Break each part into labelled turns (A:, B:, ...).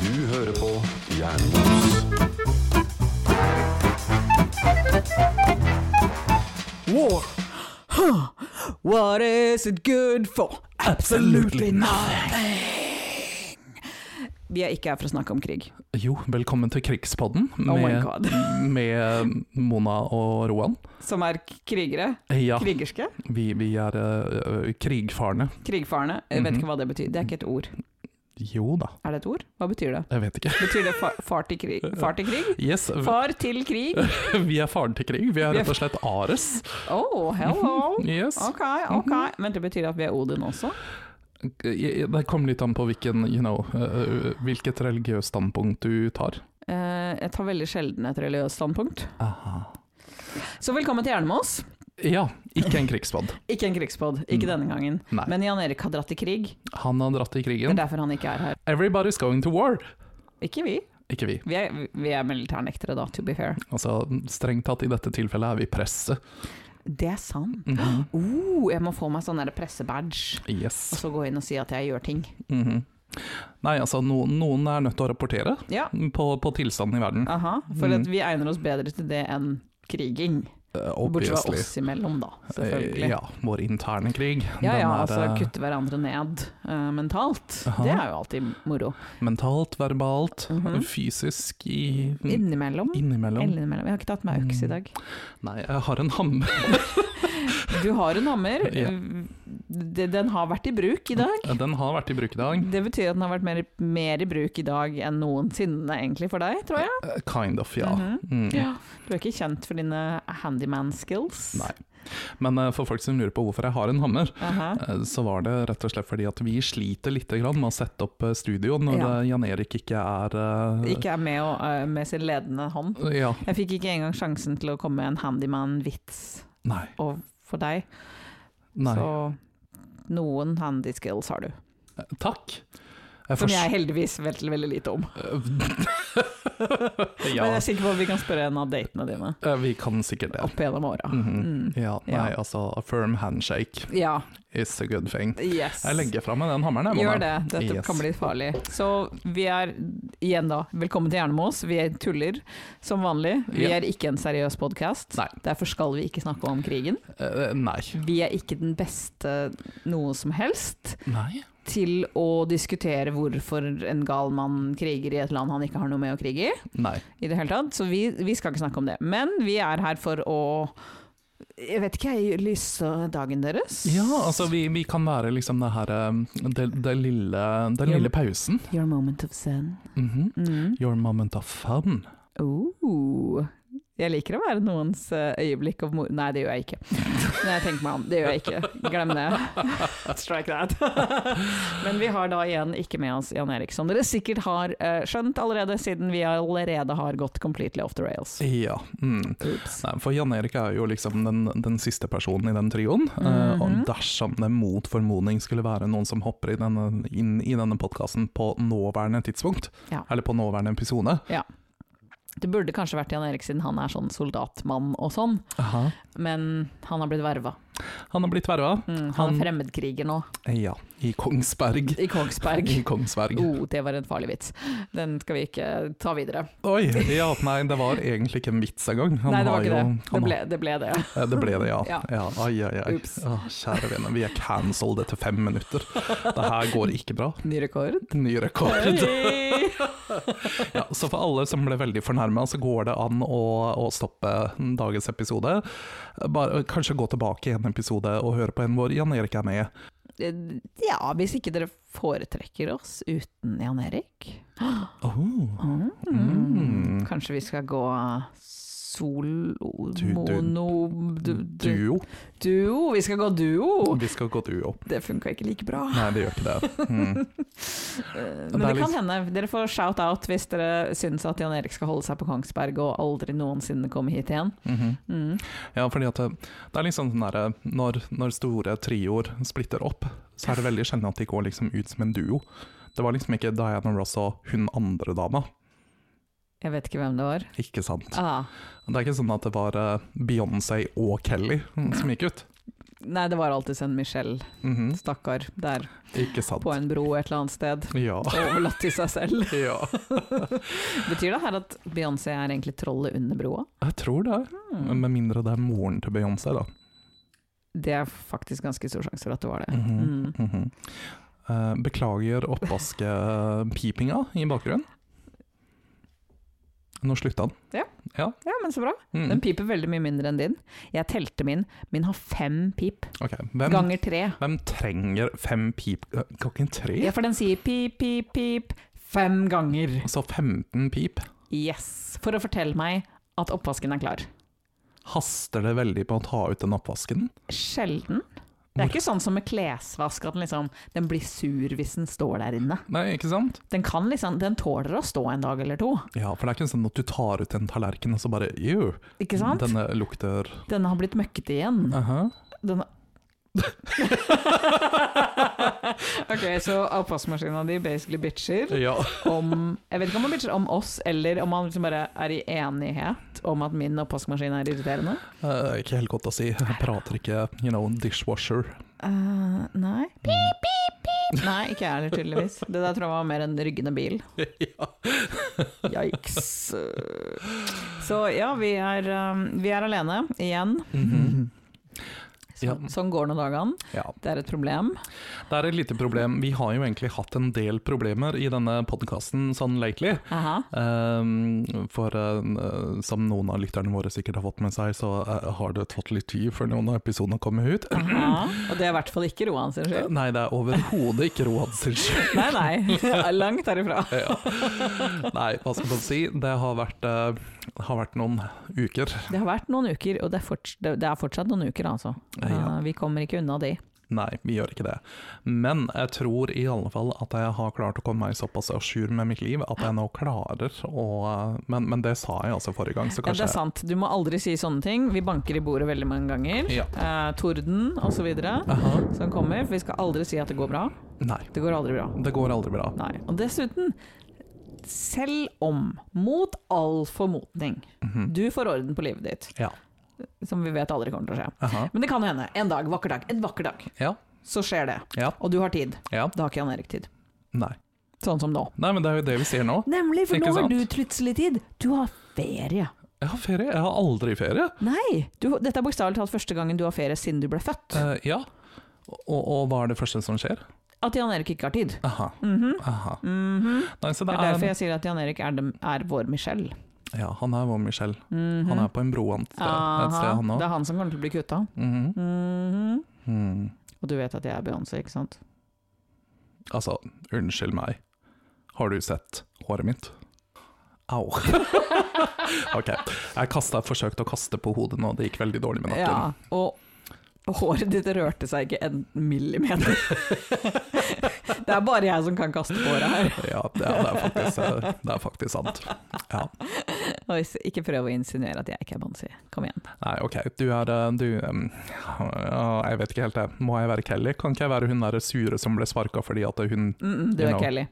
A: Du hører på Jernbos.
B: War. Huh. What is it good for? Absolutely nothing. Vi er ikke her for å snakke om krig.
C: Jo, velkommen til Krigspodden
B: Oh my
C: med,
B: god.
C: med Mona og Roan.
B: Som er k- krigere.
C: Ja,
B: Krigerske.
C: vi, vi er øh, krigfarne.
B: Krigfarne. Jeg vet
C: Mhm.
B: ikke hva det betyr. Det er ikke et ord.
C: Jo da,
B: Er det et ord? Hva betyr det?
C: jeg vet ikke.
B: Betyr det fa far til krig? Far til krig?
C: Yes, v-
B: Far til krig?
C: vi er faren til krig. Vi er
B: Vi er-
C: rett og slett Ares.
B: Oh, hello. Ah.
C: Yes.
B: Ok,
C: Mhm.
B: ok. Men det betyr at vi er Odin også?
C: Jeg- jeg- Det kommer litt an på hvilken, you know, øh, hvilket religiøst standpunkt du tar.
B: Eh, jeg tar veldig sjelden et religiøst standpunkt.
C: Aha.
B: Så velkommen til Jernmås.
C: Ja, ikke en krigspodd.
B: Ikke en krigspod, ikke
C: Mm.
B: denne gangen.
C: Nei.
B: Men Jan Erik har dratt i krig.
C: Han har dratt i
B: Det er
C: krigen.
B: derfor han ikke er her.
C: Everybody's going to war.
B: Ikke vi.
C: Ikke vi.
B: Vi er, vi er militærnektere, da, to be fair.
C: Altså, strengt tatt i dette tilfellet er vi presset.
B: Det er sant.
C: Mhm.
B: Oh, jeg må få meg sånn der pressebadge, og
C: Yes.
B: så gå inn og si at jeg gjør ting.
C: Mhm. Nei, altså no, noen er nødt til å rapportere
B: Ja,
C: på, på tilstanden i verden.
B: aha.
C: Mm.
B: For at vi egner oss bedre til det enn kriging.
C: Eh,
B: Bortsett fra
C: obviously.
B: oss imellom, da.
C: Eh,
B: Selvfølgelig.
C: Ja, vår interne krig.
B: Ja ja,
C: den
B: altså
C: er eh,
B: kutte hverandre ned eh, mentalt.
C: Aha.
B: Det er jo alltid moro.
C: mentalt, verbalt,
B: Mhm.
C: fysisk i,
B: Innimellom.
C: Mm. Innimellom. Mm.
B: Innimellom. Jeg har ikke tatt meg øks i dag.
C: Nei, jeg har en hammer.
B: Du har en hammer. Eh,
C: Ja.
B: D- Den har vært i bruk i dag.
C: Den har vært i bruk i dag.
B: Det betyr at den har vært mer, mer i bruk i dag enn noensinne egentlig for deg, tror jeg.
C: Eh, Kind of, ja.
B: Mhm.
C: Mm.
B: Ja. Du er ikke kjent for dine handyman skills.
C: Nei. Men eh, for folk som lurer på hvorfor jeg har en hammer,
B: Aha.
C: eh, så var det rett og slett fordi at vi sliter litt grann med å sette opp eh, studio når
B: Ja.
C: eh, Jan Erik ikke er eh,
B: Ikke er med, å, øh, med sin ledende hånd.
C: Ja.
B: Jeg fikk ikke engang sjansen til å komme med en handyman-vits
C: Nei.
B: for deg,
C: Nei.
B: så noen handy skills har du.
C: Eh, Takk. Jeg
B: Som
C: forst-
B: jeg heldigvis vet veldig lite om. Men jeg
C: ja,
B: er sikker på at vi kan spørre en av datene dine
C: eh, vi kan sikkert det.
B: opp gjennom åra.
C: Mhm.
B: Mm.
C: Ja, nei,
B: Ja.
C: altså, a firm handshake
B: Ja.
C: is a good thing.
B: Yes.
C: Jeg legger fra meg den hammeren. jeg,
B: Gjør
C: Mona.
B: det. Dette
C: Yes.
B: kan bli farlig. Så vi er igjen da, velkommen til Jernmås. Vi er tuller som vanlig. Vi
C: Ja.
B: er ikke en seriøs podkast.
C: Nei.
B: Derfor skal vi ikke snakke om krigen.
C: Eh, nei.
B: Vi er ikke den beste noe som helst
C: Nei.
B: til å diskutere hvorfor en gal mann kriger i et land han ikke har noe med å krige i.
C: Nei.
B: I det hele tatt. Så vi, vi skal ikke snakke om det. Men vi er her for å jeg vet ikke, jeg lyse dagen deres.
C: Ja, altså, vi, vi kan være liksom det her eh, det, det lille, Den
B: Ja.
C: lille pausen.
B: Your moment of zen.
C: Mhm.
B: Mm.
C: Your moment of fun.
B: Oh. Jeg liker å være noens eh, øyeblikk av mor... Nei, det gjør jeg ikke. Når jeg tenker meg om, det gjør jeg ikke. Glem det. Strike that. Men vi har da igjen ikke med oss Jan Erik, som dere sikkert har eh, skjønt allerede, siden vi allerede har gått completely off the rails.
C: Ja. Mm.
B: Oops.
C: Nei, for Jan Erik er jo liksom den, den siste personen i den trioen. eh,
B: Mhm.
C: og dersom det mot formodning skulle være noen som hopper i denne, inn i denne podkasten på nåværende tidspunkt,
B: Ja.
C: eller på nåværende episode
B: Det burde kanskje vært Jan Erik, siden han er sånn soldatmann og sånn, men han har blitt verva.
C: Han har blitt verva.
B: Mm, han,
C: Han-
B: er fremmedkriger nå,
C: Ja, i Kongsberg.
B: i Kongsberg.
C: I Kongsberg.
B: Oh, det var en farlig vits. Den skal vi ikke ta videre.
C: Oi! Ja, nei, det var egentlig ikke en vits engang. Han
B: Nei, det
C: har
B: var ikke
C: jo-
B: det. Det
C: han
B: ble det. Ble det.
C: har- Eh, det ble det, ja.
B: Ja.
C: ja. Ai, ai, ai.
B: Ups.
C: Å, kjære vene, vi er cancelled etter fem minutter. Det her går ikke bra.
B: Ny rekord.
C: Ny rekord.
B: Hei!
C: Ja, så for alle som ble veldig fornærma, så går det an å, å stoppe dagens episode. Bare, kanskje gå tilbake i en episode og høre på en hvor Jan Erik er med.
B: Ja, hvis ikke dere foretrekker oss uten Jan Erik.
C: Oh.
B: Mm.
C: Mm.
B: Kanskje vi skal gå solo,
C: Du- du-
B: mono du- du-
C: Duo.
B: Duo! Vi skal gå duo!
C: Vi skal gå duo.
B: Det funka ikke like bra.
C: Nei, det gjør ikke det. Mm.
B: Eh,
C: Det
B: Men
C: er
B: det kan
C: litt-
B: hende. Dere får shout-out hvis dere syns at Jan Erik skal holde seg på Kongsberg og aldri noensinne komme hit igjen.
C: Mhm.
B: Mm.
C: Ja, fordi at det, det er liksom sånn der, når, når store trioer splitter opp, så er det veldig sjelden at de går liksom ut som en duo. Det var liksom ikke Diana Ross og hun andre dama,
B: Jeg vet ikke hvem det var.
C: ikke sant?
B: Ah,
C: Det er ikke sånn at det var eh, Beyoncé og Kelly som gikk ut.
B: Nei, det var alltid en Michelle,
C: Mhm.
B: stakkar, der
C: Ikke sant.
B: på en bro et eller annet sted.
C: Ja.
B: Overlatt til seg selv.
C: ja.
B: Betyr det her at Beyoncé er egentlig trollet under broa?
C: Jeg tror det.
B: Mm.
C: Med mindre det er moren til Beyoncé, da.
B: Det er faktisk ganske stor sjanse for at det var det.
C: Mhm.
B: Mm.
C: Mhm. Eh, Beklager oppvaskepipinga i bakgrunnen. Nå slutta den.
B: Ja, men så bra.
C: Mm.
B: Den piper veldig mye mindre enn din. Jeg telte min. Min har fem pip.
C: Ok, Hvem,
B: Ganger tre.
C: hvem trenger fem pip eh, Klokken tre?
B: Ja, for den sier pip, pip, pip fem ganger.
C: Så 15 pip.
B: Yes. For å fortelle meg at oppvasken er klar.
C: Haster det veldig på å ta ut den oppvasken?
B: Sjelden. Det er ikke sånn som med klesvask, at den, liksom, den blir sur hvis den står der inne.
C: Nei, ikke sant?
B: Den, kan liksom, den tåler å stå en dag eller to,
C: Ja, for det er ikke sånn at du tar ut en tallerken og så bare Ew,
B: ikke sant?
C: denne lukter
B: Denne har blitt møkkete igjen.
C: Aha.
B: Den ok, så oppvaskmaskina di basically bitcher
C: Ja.
B: om Jeg vet ikke om han bitcher om oss, eller om han liksom bare er i enighet om at min oppvaskmaskin er irriterende.
C: Eh, ikke helt godt å si. Jeg prater ikke, you know, dishwasher.
B: Eh, nei. Pip, pip, pip. Nei, ikke jeg heller, tydeligvis. Det der tror jeg var mer en ryggende bil.
C: ja.
B: Yikes. Så ja, vi er, eh, vi er alene igjen.
C: Mhm.
B: Så,
C: Ja.
B: Sånn går nå dagene.
C: ja.
B: Det er et problem.
C: Det er et lite problem. Vi har jo egentlig hatt en del problemer i denne podkasten sånn lately.
B: Aha.
C: Ehm, for eh, som noen av lytterne våre sikkert har fått med seg, så eh, har det tatt litt tid før noen av episodene kommer ut. Eh,
B: Aha. Og det er i hvert fall ikke Roan sin skyld.
C: Nei, det er overhodet ikke Roan sin skyld.
B: Nei, nei. Langt herifra.
C: Ja. Nei, hva skal man si. Det har vært, eh, har vært noen uker.
B: Det har vært noen uker, og det er, forts det det er fortsatt noen uker, altså.
C: Ja.
B: Eh, vi kommer ikke unna de.
C: Nei, vi gjør ikke det. Men jeg tror i alle fall at jeg har klart å komme meg såpass à jour med mitt liv at jeg nå klarer å eh, men, men det sa jeg altså forrige gang,
B: Ja,
C: så
B: det
C: kanskje
B: er sant. Du må aldri si sånne ting. Vi banker i bordet veldig mange ganger.
C: Ja.
B: Eh, torden osv.
C: Aha.
B: som kommer. For vi skal aldri si at det går bra.
C: Nei,
B: Det går aldri bra.
C: det går aldri bra.
B: Nei. Og dessuten, selv om, mot all formodning,
C: Mhm.
B: du får orden på livet ditt,
C: Ja.
B: som vi vet aldri kommer til å skje
C: Aha.
B: Men det kan jo hende. En dag, vakker dag, en vakker dag,
C: Ja.
B: så skjer det.
C: Ja.
B: Og du har tid.
C: Ja.
B: Da har ikke Jan Erik tid.
C: Nei.
B: Sånn som nå.
C: Nei, men det er jo det vi ser nå.
B: Nemlig, for
C: Ikke
B: nå har
C: sant?
B: du plutselig tid. Du har ferie.
C: Jeg har ferie. Jeg har aldri ferie.
B: Nei! Du, dette er bokstavelig talt første gangen du har ferie siden du ble født.
C: Eh, ja. Og, og hva er det første som skjer?
B: At Jan Erik ikke har tid.
C: Aha.
B: Mhm,
C: Aha.
B: mhm.
C: Nei, så
B: Det
C: det
B: er derfor
C: er
B: jeg sier at Jan Erik er, dem- er vår Michelle.
C: Ja, han er vår Michelle.
B: Mhm. Ah,
C: Han er på en bro et sted,
B: Aha,
C: et sted han
B: Det
C: òg.
B: er han som kommer til å bli kutta.
C: Mhm.
B: Mhm.
C: Mhm.
B: Og du vet at jeg er Beyoncé, ikke sant?
C: Altså, unnskyld meg. Har du sett håret mitt? Au. ok, jeg kastet, forsøkte å kaste på hodet nå, det gikk veldig dårlig med nakken.
B: Ja, og håret ditt rørte seg ikke en millimeter. det er bare jeg som kan kaste på håret her.
C: Ja, det, er- det, er, faktisk, eh, det er faktisk sant. Ja.
B: Og hvis- ikke prøv å insinuere at jeg ikke er Beyoncé. Kom igjen.
C: Nei, ok, du er eh, du, em, ja, Jeg vet ikke helt det. Må jeg være Kelly? Kan ikke jeg være hun der sure som ble sparka fordi at
B: Mm
C: hun
B: -mm, du
C: You
B: er
C: know.
B: Kelly.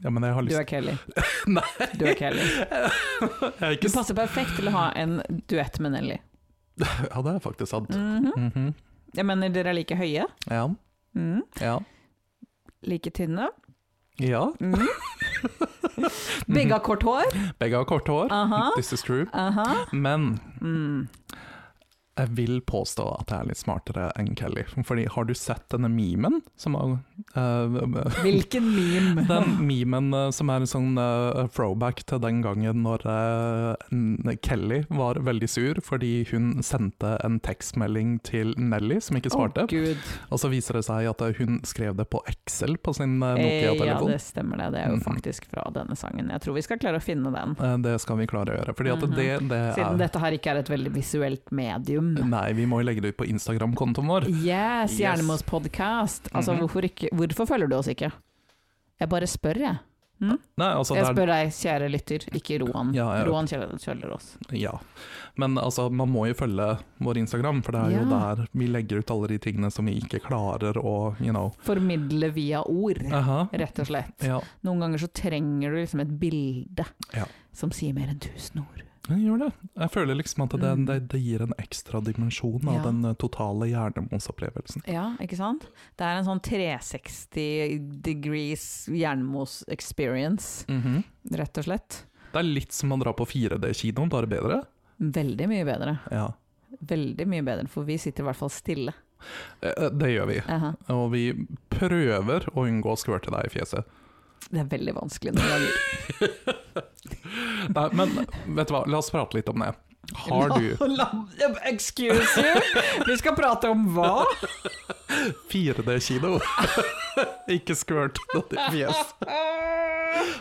C: Ja, men jeg har
B: Du
C: lyst
B: er Kelly.
C: Nei.
B: Du er Kelly.
C: jeg er
B: Du
C: ikke, s-
B: passer perfekt til å ha en duett med Nelly.
C: Ja, det er faktisk sant.
B: Mhm.
C: Mhm.
B: Jeg mener dere er like høye,
C: Ja.
B: Mhm.
C: Ja.
B: like tynne.
C: ja.
B: Mhm.
C: Mhm.
B: Begge har kort hår.
C: Begge har kort hår.
B: Aha.
C: This is true.
B: Aha.
C: Men
B: Mm.
C: Jeg vil påstå at jeg er litt smartere enn Kelly. Fordi har du sett denne memen? Som er, eh,
B: Hvilken meme.
C: den memen eh, som er en sånn eh, throwback til den gangen når eh, n- Kelly var veldig sur fordi hun sendte en tekstmelding til Nelly som ikke
B: Å,
C: svarte.
B: Gud.
C: og så viser det seg at eh, hun skrev det på Excel på sin eh,
B: Eh, Ja,
C: Nokia-telefon.
B: det stemmer det. Det er jo
C: Mhm.
B: faktisk fra denne sangen. Jeg tror vi skal klare å finne den.
C: Eh, det skal vi klare å gjøre. Fordi at
B: Mhm.
C: det, det
B: Siden
C: er
B: dette her ikke er et veldig visuelt medium.
C: Nei, vi må jo legge det ut på Instagram-kontoen vår.
B: Yes, gjerne med oss
C: Yes.
B: podcast. Altså,
C: Mhm.
B: hvorfor, ikke, hvorfor følger du oss ikke? Jeg bare spør, jeg.
C: Nei, altså, det
B: Jeg
C: er-
B: spør deg, kjære lytter, ikke Roan.
C: Ja, jeg vet.
B: Roan kjøler kjøler oss.
C: Ja. Men altså, man må jo følge vår Instagram, for det er jo
B: Ja.
C: der vi legger ut alle de tingene som vi ikke klarer å you know.
B: Formidle via ord,
C: Aha.
B: rett og slett.
C: Ja.
B: Noen ganger så trenger du liksom et bilde
C: Ja.
B: som sier mer enn tusen ord.
C: Den gjør det. Jeg føler liksom at det,
B: Mm.
C: det, det gir en ekstra dimensjon av
B: Ja.
C: den eh, totale hjernemosopplevelsen.
B: Ja, ikke sant? Det er en sånn 360 degrees jernmos experience, rett og slett.
C: Det er litt som å dra på 4D-kinoen, bare bedre.
B: Veldig mye bedre.
C: Ja,
B: Veldig mye bedre, for vi sitter i hvert fall stille.
C: Eh, eh, Det gjør vi.
B: Aha.
C: Og vi prøver å unngå å skvørte deg i fjeset.
B: Det er veldig vanskelig noen ganger.
C: Nei, men vet du hva, la oss prate litt om det. Har du
B: Excuse you! Vi skal prate om hva?
C: 4D-kino? Ikke skvørt noe i fjes.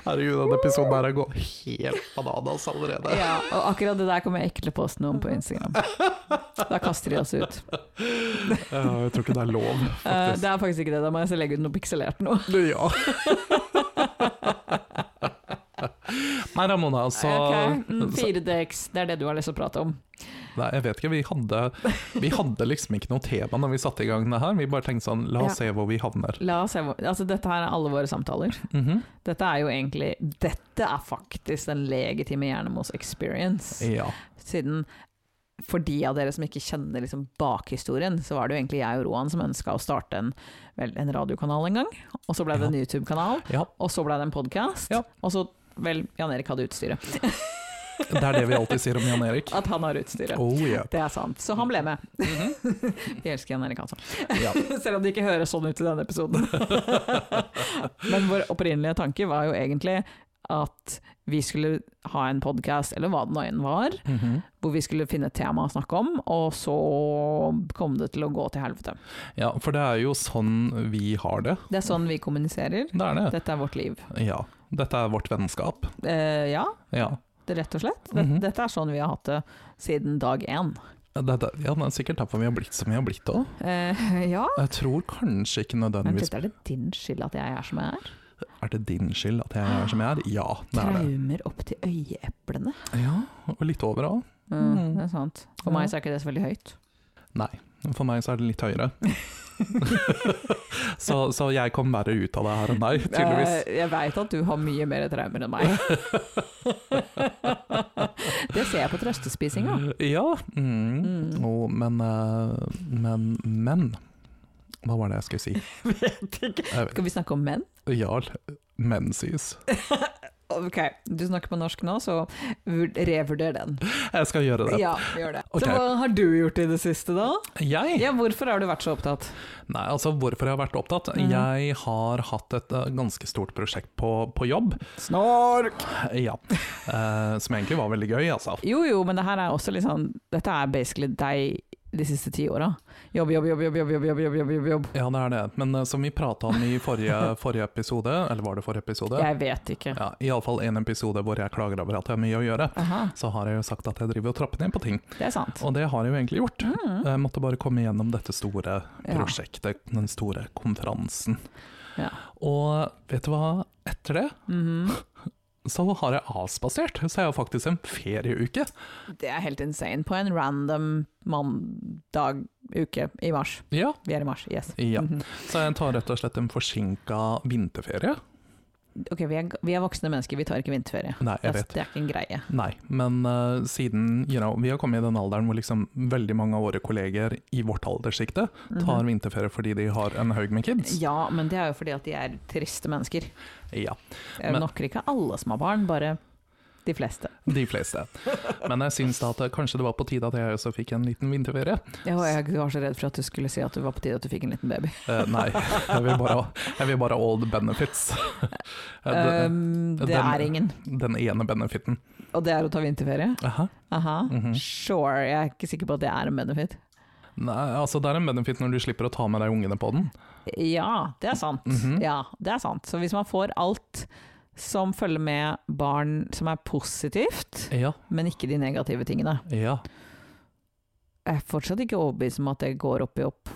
C: Herregud, denne episoden her går helt bananas allerede.
B: Ja, og akkurat det der kommer jeg ikke til å poste noe om på Instagram. Da kaster de oss ut.
C: Ja, jeg tror ikke det er lov,
B: Eh,
C: faktisk.
B: det er faktisk ikke det, da må jeg så legge ut noe pikselert nå.
C: Ja. Nei, Ramona, så
B: Ok, mm, 4DX, det er det du har lyst til å prate om.
C: Nei, jeg vet ikke. Vi hadde, vi hadde liksom ikke noe tema når vi satte i gang det her. Vi bare tenkte sånn, la oss se hvor vi havner.
B: La oss se hvor Altså, dette her er alle våre samtaler.
C: Mhm.
B: Dette er jo egentlig Dette er faktisk den legitime hjernemos experience.
C: Ja.
B: Siden for de av dere som ikke kjenner liksom bakhistorien, så var det jo egentlig jeg og Roan som ønska å starte en, vel, en radiokanal en gang. Og så ble det en YouTube-kanal,
C: ja.
B: og så ble det en podkast.
C: Ja.
B: Og så, vel, Jan Erik hadde utstyret.
C: Det er det vi alltid sier om Jan Erik.
B: At han har utstyret.
C: Oh yeah.
B: Det er sant. Så han ble med.
C: Mhm.
B: Vi elsker Jan Erik Hansson.
C: Ja.
B: Selv om det ikke høres sånn ut i denne episoden. Men vår opprinnelige tanke var jo egentlig at vi skulle ha en podkast, eller hva det nå enn var,
C: Mhm.
B: hvor vi skulle finne et tema å snakke om, og så kom det til å gå til helvete.
C: ja, for det er jo sånn vi har det.
B: Det er sånn vi kommuniserer.
C: Det er det.
B: Dette er vårt liv.
C: Ja. Dette er vårt vennskap.
B: Eh, ja,
C: Ja.
B: det- rett og slett. Dette,
C: Mhm.
B: dette er sånn vi har hatt det siden dag én.
C: Dette, ja, det er sikkert derfor vi har blitt som vi har blitt òg.
B: Eh, ja.
C: Jeg tror kanskje ikke
B: Men
C: nødvendigvis
B: er det din skyld at jeg er som jeg er?
C: Er det din skyld at jeg er som jeg
B: Ah,
C: er? Ja, det er det.
B: Traumer opp til øyeeplene.
C: Ja, og litt over òg.
B: Mm, det er sant. For
C: Ja.
B: meg så er ikke det så veldig høyt.
C: For meg så er det litt høyere. så, så jeg kom verre ut av det her enn deg, tydeligvis.
B: Eh, Jeg veit at du har mye mer traumer enn meg. det ser jeg på trøstespisinga.
C: Ja. Mm.
B: Mm.
C: Jo, men, eh, men Men Hva var det jeg skulle si?
B: Vet ikke.
C: Jeg vet-
B: Mm. Skal vi snakke om menn?
C: Jarl Mensis.
B: Ok, du snakker på norsk nå, så vur- revurder den.
C: Jeg skal gjøre det.
B: Ja, gjør det.
C: Ok.
B: Så hva har du gjort i det siste, da?
C: Jeg?
B: Ja, hvorfor har du vært så opptatt?
C: Nei, altså hvorfor jeg har vært opptatt?
B: Mhm.
C: Jeg har hatt et eh, ganske stort prosjekt på, på jobb.
B: Snork!
C: Ja. Eh, som egentlig var veldig gøy, altså.
B: Jo jo, men det her er også litt sånn Dette er basically deg de siste ti åra. Jobb, jobb, jobb, jobb, jobb, jobb, jobb, jobb, jobb, jobb, jobb.
C: Ja, det er det. Men eh, som vi prata om i forrige, forrige episode, eller var det forrige episode?
B: Jeg vet ikke.
C: Ja, Iallfall en episode hvor jeg klager over at jeg har mye å gjøre.
B: Aha,
C: Så har jeg jo sagt at jeg driver og trapper ned på ting,
B: det er sant.
C: og det har jeg jo egentlig gjort.
B: Mm.
C: Jeg måtte bare komme gjennom dette store
B: Ja.
C: prosjektet, den store konferansen.
B: Ja.
C: Og vet du hva, etter det
B: Mhm.
C: så har jeg avspasert, så jeg har faktisk en ferieuke.
B: Det er helt insane. På en random mandag uke i mars.
C: Ja,
B: Vi er i mars, yes.
C: ja.
B: Mhm.
C: Så jeg tar rett og slett en forsinka vinterferie.
B: Ok, vi er, vi er voksne mennesker, vi tar ikke vinterferie.
C: Nei, jeg
B: Det
C: vet.
B: er- Det er ikke en greie.
C: Nei, men eh, siden you know, vi har kommet i den alderen hvor liksom veldig mange av våre kolleger i vårt alderssjikte
B: Mhm.
C: tar vinterferie fordi de har en haug med kids.
B: Ja, men det er jo fordi at de er triste mennesker.
C: Ja,
B: Det er jo
C: Men-
B: nok ikke alle som har barn, bare de fleste.
C: de fleste. Men jeg syns da at eh, kanskje det var på tide at jeg også fikk en liten vinterferie.
B: Jeg var, jeg var så redd for at du skulle si at det var på tide at du fikk en liten baby.
C: Eh, nei, jeg vil, bare, jeg vil bare all the benefits. Eh, den,
B: Um, det
C: den-
B: er ingen.
C: den ene benefiten.
B: Og det er å ta vinterferie?
C: Aha.
B: Aha.
C: Mhm.
B: Sure, jeg er ikke sikker på at det er en benefit.
C: Nei, altså det er en benefit når du slipper å ta med deg ungene på den.
B: Ja, det er sant.
C: Mhm.
B: Ja, det er sant. Så hvis man får alt som følger med barn som er positivt,
C: Ja,
B: men ikke de negative tingene
C: ja.
B: Jeg er fortsatt ikke overbevist om at det går opp i opp.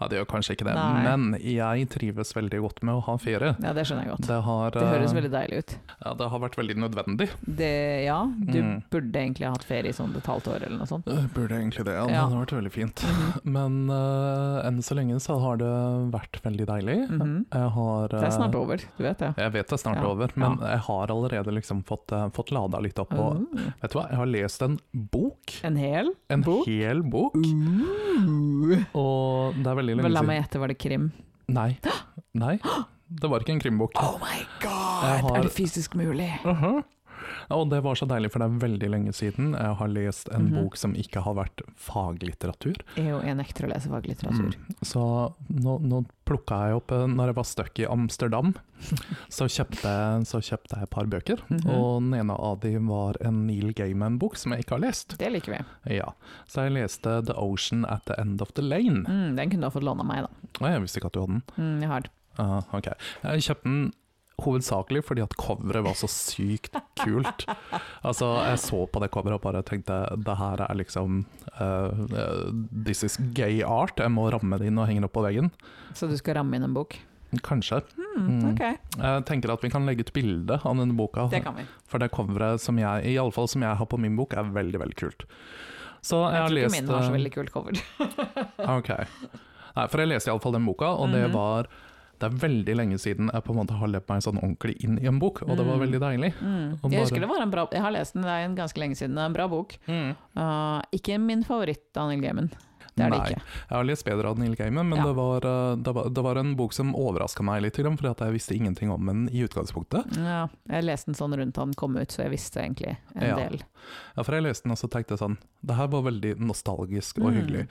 C: Ja, det gjør kanskje ikke det,
B: Nei.
C: men jeg trives veldig godt med å ha ferie.
B: Ja, det skjønner jeg godt.
C: Det har,
B: Det høres
C: eh,
B: veldig deilig ut.
C: ja, det har vært veldig nødvendig.
B: Det, ja, du
C: Mm.
B: burde egentlig hatt ferie i sånn et halvt år eller noe sånt. Mhm,
C: Eh, Burde egentlig det, ja. det
B: Ja.
C: hadde vært veldig fint. Men eh, enn så lenge så har det vært veldig deilig.
B: Mhm.
C: Jeg har
B: Det er snart
C: eh,
B: over, du vet det.
C: Jeg vet det er snart
B: Ja.
C: over, men jeg har allerede liksom fått, eh, fått lada litt opp. Og,
B: Uh,
C: Vet du hva, jeg har lest en bok.
B: en hel?
C: En
B: Bok?
C: hel bok.
B: Uh.
C: Og det er veldig lenge
B: La
C: siden
B: meg gjette, var det krim?
C: Nei. Nei. Det var ikke en krimbok.
B: Oh my
C: Jeg
B: god!
C: har-
B: Er det fysisk mulig?
C: Aha. Ja, Og det var så deilig, for det er veldig lenge siden jeg har lest en
B: Mhm.
C: bok som ikke har vært faglitteratur.
B: Jeg, er jo- jeg nekter å lese faglitteratur.
C: Så nå, nå plukka jeg opp eh, Når jeg var stuck i Amsterdam, så kjøpte, jeg- så kjøpte jeg et par bøker.
B: Mhm.
C: Og den ene av de var en Neil Gaiman-bok som jeg ikke har lest.
B: Det liker vi.
C: Ja, Så jeg leste 'The Ocean at the End of the Lane'.
B: Mm, den kunne du ha fått låne av meg, da.
C: Å, jeg visste ikke at du hadde den.
B: Mm, jeg har den.
C: Ah, ok. Jeg kjøpte den hovedsakelig fordi at coveret var så sykt kult. Altså, jeg så på det coveret og bare tenkte det her er liksom eh, eh, This is gay art. Jeg må ramme det inn og henge det opp på veggen.
B: Så du skal ramme inn en bok?
C: Kanskje.
B: Mm,
C: Mm.
B: ok,
C: Jeg tenker at vi kan legge ut bilde av denne boka,
B: det kan vi.
C: for det coveret som jeg i alle fall som jeg har på min bok, er veldig, veldig kult. Så jeg,
B: Jeg
C: har
B: tror ikke
C: lest
B: min har så
C: eh,
B: veldig kult cover.
C: Ok. Nei, for jeg leste iallfall den boka, og det
B: Mhm.
C: var det er veldig lenge siden jeg på en måte har levd meg sånn ordentlig inn i en bok, og det var
B: Mm.
C: veldig deilig.
B: Mm.
C: Og
B: Jeg
C: bare-
B: husker det var en bra Jeg har lest den, det er en ganske lenge siden. Det er en bra bok. Uh, ikke min favoritt av Neil Gaiman. Det er
C: Nei.
B: det ikke.
C: Jeg har lest bedre av Neil Gaiman, men
B: Ja.
C: det, var, eh, det, var, det var en bok som overraska meg litt, for jeg visste ingenting om den i utgangspunktet.
B: Ja, jeg leste den sånn rundt han kom ut, så jeg visste egentlig en
C: Ja.
B: del.
C: Ja, for jeg leste den og så tenkte jeg sånn Det her var veldig nostalgisk og
B: Mm.
C: hyggelig.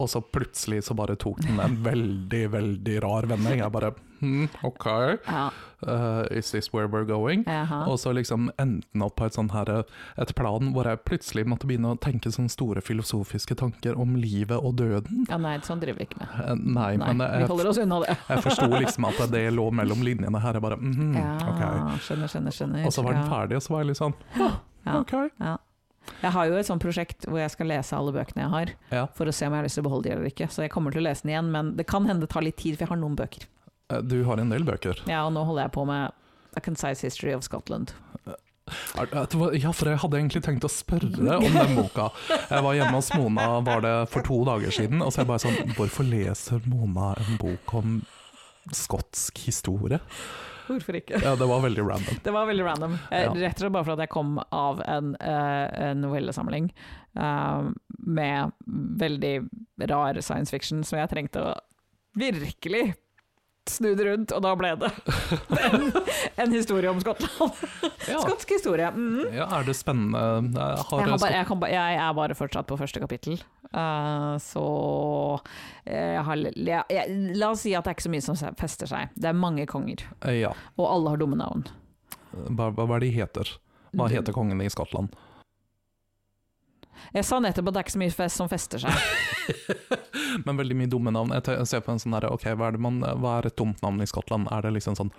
C: Og så plutselig så bare tok den en veldig, veldig rar vending. Jeg bare hm, OK,
B: Ja,
C: eh, is this where we're going?
B: aha.
C: Og så liksom endte den opp på et, sånn her, et plan hvor jeg plutselig måtte begynne å tenke sånne store filosofiske tanker om livet og døden.
B: ja nei, sånn driver vi ikke med.
C: Eh, Nei,
B: Nei,
C: men
B: vi
C: jeg,
B: holder oss unna det.
C: jeg forsto liksom at det lå mellom linjene her. Jeg bare mhm,
B: Ja,
C: ok.
B: skjønner, skjønner, skjønner.
C: Og så var den
B: Ja.
C: ferdig, og så var jeg litt sånn
B: Ja.
C: OK.
B: Jeg har jo et sånt prosjekt hvor jeg skal lese alle bøkene jeg har,
C: Ja.
B: for å se om jeg har lyst til å beholde de eller ikke. Så jeg kommer til å lese den igjen, men det kan hende det tar litt tid, for jeg har noen bøker.
C: Eh, Du har en del bøker.
B: Ja, og nå holder jeg på med A Concise History of Scotland.
C: Er- eh, er- det var- Ja, for jeg hadde egentlig tenkt å spørre om den boka. Jeg var hjemme hos Mona var det for to dager siden, og så er jeg bare sånn Hvorfor leser Mona en bok om skotsk historie?
B: Hvorfor ikke?
C: Ja, det var veldig random.
B: Det var veldig random. Eh,
C: Ja.
B: Rett og slett bare fordi jeg kom av en, eh, en novellesamling eh, med veldig rar science fiction som jeg trengte å virkelig snu det rundt, og da ble det en, en historie om Skottland.
C: Ja.
B: Skotsk historie. mhm.
C: Ja, er det spennende? Jeg har,
B: Jeg, har bare, jeg, kan, ba- jeg er bare fortsatt på første kapittel, Eh, så eh, jeg har, jeg, jeg, La oss si at det er ikke så mye som se- fester seg. Det er mange konger,
C: Ja,
B: og alle har dumme navn.
C: hva, hva hva er de heter? Hva heter kongen i Skottland?
B: Jeg sa nettopp at det er ikke så mye fest som fester seg.
C: Men veldig mye dumme navn. Jeg te- jeg ser på en sånn der, ok, hva er, det man, hva er et dumt navn i Skottland? Er det liksom sånn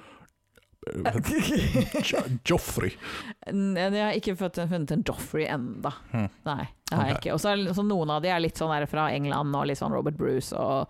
C: Jo- Joffrey.
B: N- Jeg har ikke fått- funnet en Joffrey enda.
C: Hmm.
B: Nei, det har jeg
C: Ok.
B: ikke. Og så er det- så noen av de er litt sånn der fra England og litt sånn Robert Bruce og,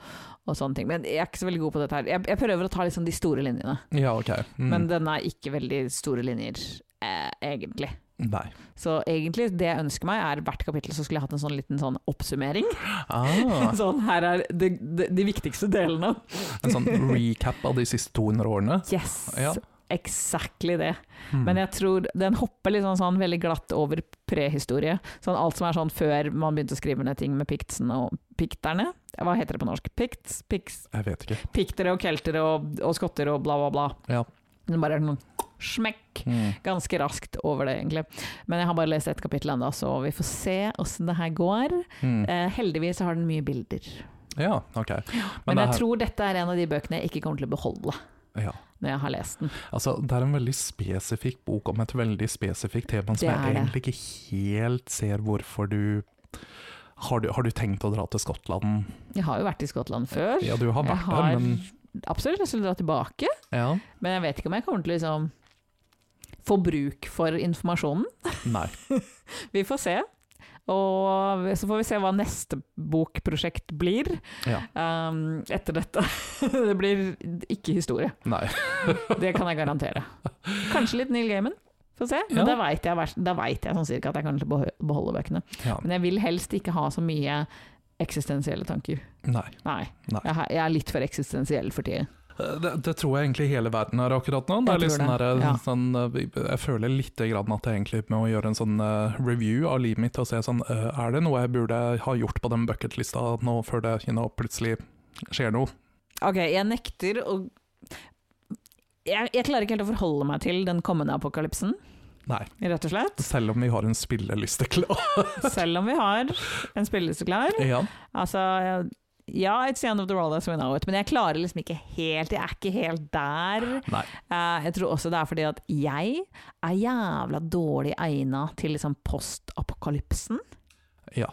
B: og sånne ting. Men jeg er ikke så veldig god på dette her. Jeg, jeg prøver å ta litt sånn de store linjene,
C: Ja, ok. Mm.
B: men den er ikke veldig store linjer, eh, egentlig.
C: Nei.
B: Så egentlig det jeg ønsker meg er hvert kapittel så skulle jeg hatt en sånn liten sånn oppsummering.
C: Ah,
B: Sånn her er de, de, de viktigste delene.
C: en sånn recap av de siste 200 årene.
B: Yes,
C: Ja.
B: exactly det.
C: Mm.
B: Men jeg tror den hopper litt sånn, sånn veldig glatt over prehistorie. Sånn alt som er sånn før man begynte å skrive ned ting med piktsen og pikterne. Hva heter det på norsk? Pikts, piks,
C: Jeg vet ikke.
B: piktere og keltere og, og skotter og bla, bla, bla.
C: Ja.
B: Det bare er noen smekk
C: Mm.
B: ganske raskt over det, egentlig. Men jeg har bare lest ett kapittel ennå, så vi får se åssen det her går.
C: Mm.
B: Eh, heldigvis så har den mye bilder.
C: Ja, ok. Men,
B: Men,
C: det
B: jeg
C: her-
B: tror dette er en av de bøkene jeg ikke kommer til å beholde
C: ja.
B: når jeg har lest den.
C: Altså, det er en veldig spesifikk bok om et veldig spesifikt tema som
B: Det er
C: jeg
B: det.
C: egentlig ikke helt ser hvorfor du har, du har du tenkt å dra til Skottland?
B: Jeg har jo vært i Skottland før.
C: Ja, du har
B: Jeg
C: vært
B: har
C: der, men
B: absolutt lyst til å dra tilbake.
C: ja.
B: Men jeg vet ikke om jeg kommer til å liksom få bruk for informasjonen.
C: Nei.
B: Vi får se. Og så får vi se hva neste bokprosjekt blir
C: Ja.
B: ehm, etter dette. det blir ikke historie,
C: Nei.
B: det kan jeg garantere. Kanskje litt Neil Gaiman, få se. Men da
C: Ja.
B: veit jeg, vers- da vet jeg sånn cirka at jeg kan beho- beholde bøkene.
C: Ja.
B: Men jeg vil helst ikke ha så mye eksistensielle tanker.
C: Nei.
B: Nei.
C: Nei.
B: Jeg, har- jeg er litt for eksistensiell for tiden.
C: Det, det tror jeg egentlig hele verden er akkurat nå. Det
B: Jeg
C: er litt
B: tror
C: sånn
B: det,
C: der,
B: ja.
C: sånn, eh, jeg føler litt grann at jeg egentlig med å gjøre en sånn eh, review av livet mitt og se sånn eh, Er det noe jeg burde ha gjort på den bucketlista nå før det you know, plutselig skjer noe?
B: Ok, jeg nekter å jeg, jeg klarer ikke helt å forholde meg til den kommende apokalypsen,
C: Nei.
B: rett og slett.
C: Selv om vi har en spilleliste klar.
B: Selv om vi har en spilleliste klar.
C: ja.
B: Altså, ja, it's the end of the world as we know it, men jeg klarer liksom ikke helt Jeg er ikke helt der.
C: Nei.
B: Eh, jeg tror også det er fordi at jeg er jævla dårlig egna til liksom postapokalypsen.
C: Ja.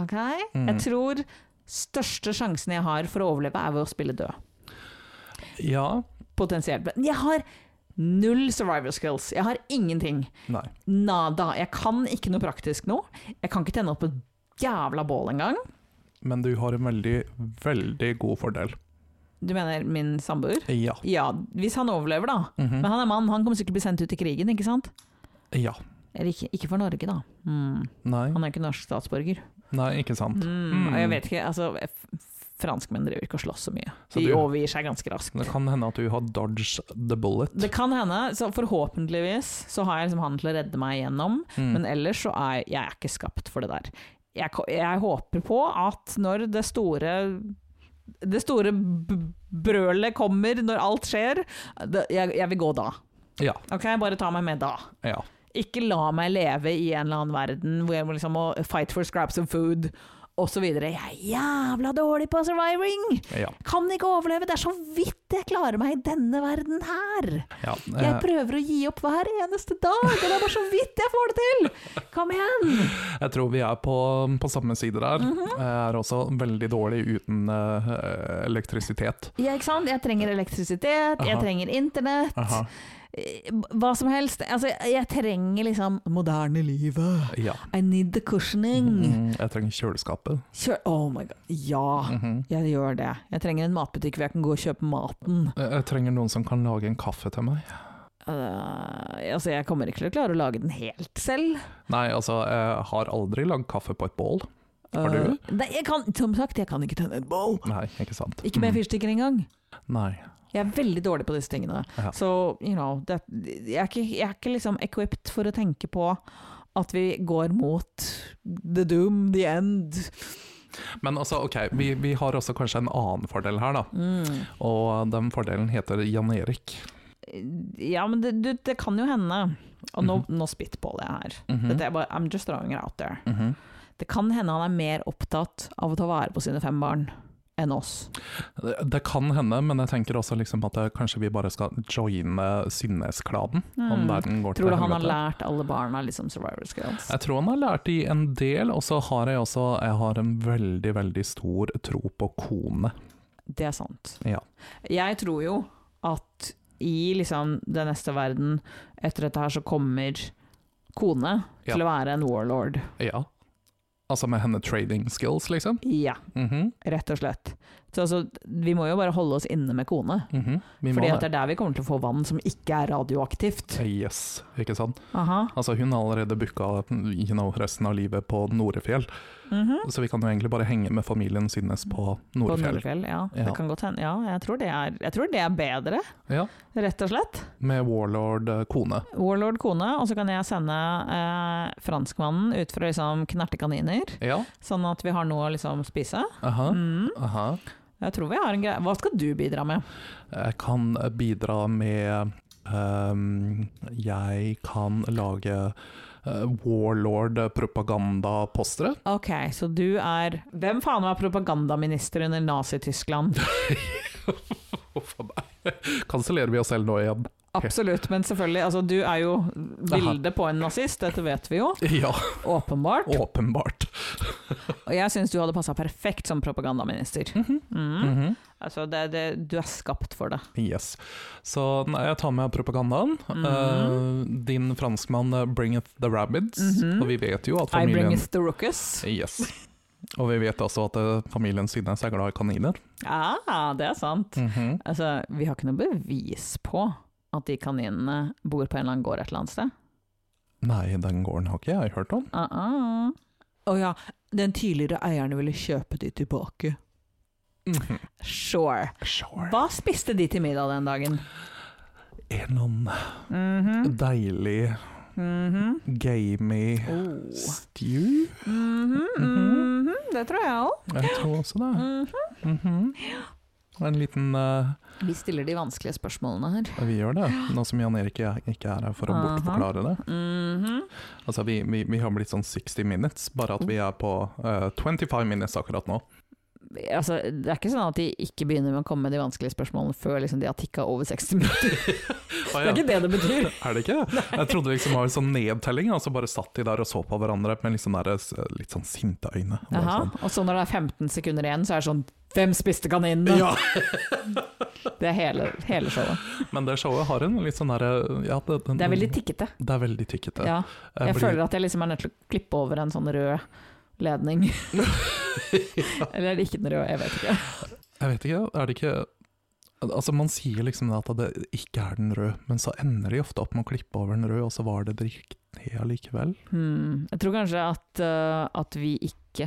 B: Ok?
C: Mm.
B: Jeg tror største sjansen jeg har for å overleve, er ved å spille død.
C: ja.
B: Potensielt. Men jeg har null survival skills. Jeg har ingenting.
C: Nei.
B: Nada. Jeg kan ikke noe praktisk nå. Jeg kan ikke tenne opp et jævla bål engang.
C: Men du har en veldig, veldig god fordel.
B: Du mener min samboer?
C: Ja.
B: Ja, hvis han overlever, da.
C: Mhm.
B: Men han er mann, han kommer sikkert bli sendt ut i krigen, ikke sant?
C: Ja.
B: Eller ikke, ikke for Norge, da. Mm.
C: Nei.
B: Han er ikke norsk statsborger.
C: Nei, ikke sant.
B: Mm. Og
C: Mm.
B: jeg vet ikke, altså f- f- Franskmenn driver ikke og slåss så mye.
C: Så
B: De
C: du-
B: overgir seg ganske raskt.
C: Det kan hende at du har dodged the bullet.
B: Det kan hende, så forhåpentligvis så har jeg liksom han til å redde meg igjennom.
C: Mm.
B: Men ellers så er jeg er ikke skapt for det der. Jeg, ko- jeg håper på at når det store det store b- brølet kommer, når alt skjer, det, jeg, jeg vil gå da.
C: Ja.
B: Ok, Bare ta meg med da.
C: ja.
B: Ikke la meg leve i en eller annen verden hvor jeg må liksom må fight for scraps of food osv. Jeg er jævla dårlig på surviving!
C: Ja.
B: Kan ikke overleve! Det er så vidt jeg klarer meg i denne verden her!
C: ja.
B: Jeg
C: Eh,
B: prøver å gi opp hver eneste dag, og det er bare så vidt jeg får det til! Kom igjen!
C: Jeg tror vi er på, på samme side der.
B: Mhm.
C: Jeg er også veldig dårlig uten eh, elektrisitet.
B: Ja, ikke sant? Jeg trenger elektrisitet, jeg
C: Aha.
B: trenger internett,
C: Aha.
B: eh, hva som helst. Altså, jeg trenger liksom moderne livet.
C: Ja.
B: I need the cushioning.
C: Mm, jeg trenger kjøleskapet.
B: Kjør Oh my god. Ja,
C: Mhm.
B: jeg gjør det. Jeg trenger en matbutikk hvor jeg kan gå og kjøpe maten.
C: Jeg jeg trenger noen som kan lage en kaffe til meg.
B: Eh, altså, jeg kommer ikke til å klare å lage den helt selv.
C: Nei, altså, jeg har aldri lagd kaffe på et bål. Har du?
B: Eh, nei, jeg kan, som sagt, jeg kan ikke tenne et bål.
C: Nei, ikke sant.
B: Ikke med
C: Mm.
B: fyrstikker engang.
C: Nei.
B: Jeg er veldig dårlig på disse tingene.
C: Ja.
B: Så, you know, det, jeg, er ikke, jeg er ikke liksom equipped for å tenke på at vi går mot the doom, the end.
C: Men altså, ok, vi, vi har også kanskje en annen fordel her, da. Og den fordelen heter Jan Erik.
B: Ja, men det, du, det kan jo hende Og nå, nå spitballer jeg her.
C: Mhm.
B: Dette er bare, I'm just throwing it out there.
C: Mhm.
B: Det kan hende han er mer opptatt av å ta vare på sine fem barn enn oss.
C: det, det kan hende, men jeg tenker også liksom at eh, kanskje vi bare skal joine Synnes-kladen. Om
B: Mm.
C: verden går til
B: Tror du han har
C: helvete.
B: lært alle barna liksom survivor skills?
C: Jeg tror han har lært i en del, og så har jeg også jeg har en veldig, veldig stor tro på kone.
B: Det er sant.
C: Ja.
B: Jeg tror jo at i liksom den neste verden, etter dette her, så kommer kone
C: Ja.
B: til å være en warlord.
C: Ja. Altså med henne trading skills, liksom.
B: Ja,
C: Mhm,
B: rett og slett. Så altså, vi må jo bare holde oss inne med kone.
C: mhm. Vi må
B: Fordi at
C: det.
B: det er der vi kommer til å få vann som ikke er radioaktivt.
C: Yes, ikke sant.
B: Aha.
C: Altså Hun har allerede booka you know, resten av livet på Norefjell,
B: Mhm.
C: så vi kan jo egentlig bare henge med familien Synnes på
B: På
C: Norefjell.
B: Nordfjell, ja.
C: Ja.
B: Det kan godt hende. Ja, jeg tror, det er, jeg tror det er bedre,
C: Ja,
B: rett og slett.
C: Med warlord eh, kone.
B: Warlord kone, og så kan jeg sende eh, franskmannen ut for å liksom knerte kaniner,
C: Ja,
B: sånn at vi har noe å liksom spise.
C: aha,
B: Mm.
C: aha.
B: Jeg tror vi har en greie. Hva skal du bidra med?
C: Jeg kan eh, bidra med ehm, Jeg kan lage eh, warlord-propaganda-postere.
B: Ok, så du er Hvem faen var propagandaminister under Nazi-Tyskland?
C: Huff a meg. Kansellerer vi oss selv nå igjen?
B: Absolutt, men selvfølgelig. Altså, du er jo bildet på en nazist, dette vet vi jo.
C: Ja,
B: Åpenbart.
C: åpenbart.
B: og jeg syns du hadde passa perfekt som propagandaminister.
C: Mhm.
B: Mm.
C: Mhm.
B: Altså, det, det, du er skapt for det.
C: Yes. Så nei, jeg tar med propagandaen.
B: Mm.
C: Eh, din franskmann eh, bringeth the rabbits,
B: Mhm.
C: og vi vet jo at
B: I bring
C: familien
B: it the ruckus.
C: Yes. Og vi vet også at eh, familien Synnes er glad i kaniner.
B: Ah, det er sant.
C: Mhm.
B: Altså, vi har ikke noe bevis på at de kaninene bor på en eller annen gård et eller annet sted.
C: Nei, den gården har ikke jeg hørt om.
B: Å ah, ah. Å ja, den tidligere eierne ville kjøpe de tilbake.
C: Mhm.
B: Sure.
C: Sure.
B: Hva spiste de til middag den dagen?
C: En eller annen
B: Mhm.
C: deilig,
B: Mhm.
C: gamey
B: Oh.
C: stew?
B: Mhm,
C: Mhm.
B: mhm. Det tror jeg òg.
C: Jeg tror også det.
B: Mm-hmm.
C: Mhm. En liten eh,
B: Vi stiller de vanskelige spørsmålene her.
C: Vi gjør det, nå som Jan Erik ikke er her for å
B: Aha.
C: bortforklare det.
B: Mhm.
C: Altså, vi, vi, vi har blitt sånn 60 minutes, bare at vi er på eh, 25 minutes akkurat nå.
B: altså, det er ikke sånn at de ikke begynner med å komme med de vanskelige spørsmålene før liksom, de har tikka over 60 minutter.
C: Ah,
B: Det er
C: ja.
B: ikke det det betyr.
C: Er det ikke? Jeg trodde liksom det var en sånn nedtelling, og så bare satt de der og så på hverandre med litt sånn, der, eh, litt sånn sinte øyne. Bare
B: Jaha.
C: sånn,
B: Og så når det er 15 sekunder igjen, så er det sånn Hvem spiste kaninene?
C: Ja,
B: Det er hele, hele showet.
C: Men det showet har en litt sånn derre ja, det, den-
B: Det er veldig tikkete.
C: Det er veldig Eh, tikkete.
B: Ja.
C: Jeg
B: Jeg
C: blir-
B: føler at jeg liksom er nødt til å klippe over en sånn rød ledning. Eller er det ikke den røde, jeg vet ikke.
C: Jeg vet ikke, er det ikke Altså Man sier liksom at det ikke er den røde, men så ender de ofte opp med å klippe over den røde, og så var det det riktige allikevel.
B: Hmm. Jeg tror kanskje at, eh, at vi ikke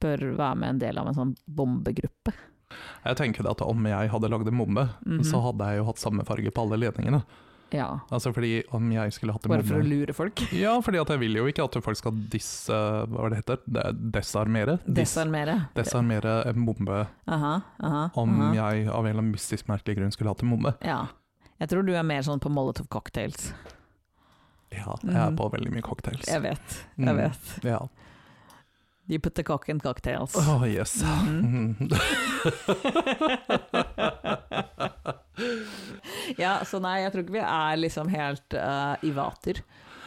B: bør være med en del av en sånn bombegruppe.
C: Jeg tenker det at om jeg hadde lagd en bombe,
B: Mhm.
C: så hadde jeg jo hatt samme farge på alle ledningene.
B: Ja.
C: Altså fordi om jeg skulle hatt en
B: Bare for å
C: bombe
B: lure folk.
C: Ja, fordi at jeg vil jo ikke at folk skal dis... Hva var det heter? Det er Desarmere? Dis-
B: Desarmere.
C: Desarmere en bombe
B: Aha, aha,
C: om
B: aha.
C: jeg av en eller annen mystisk merkelig grunn skulle hatt en bombe.
B: Ja. Jeg tror du er mer sånn på Molotov cocktails.
C: Ja, jeg er
B: Mhm.
C: på veldig mye cocktails.
B: Jeg vet,
C: Mm.
B: jeg vet.
C: Ja.
B: You put the cock in cocktails.
C: Oh, yes.
B: Mhm.
C: Mhm.
B: Ja, så nei, jeg tror ikke vi er liksom helt eh, i vater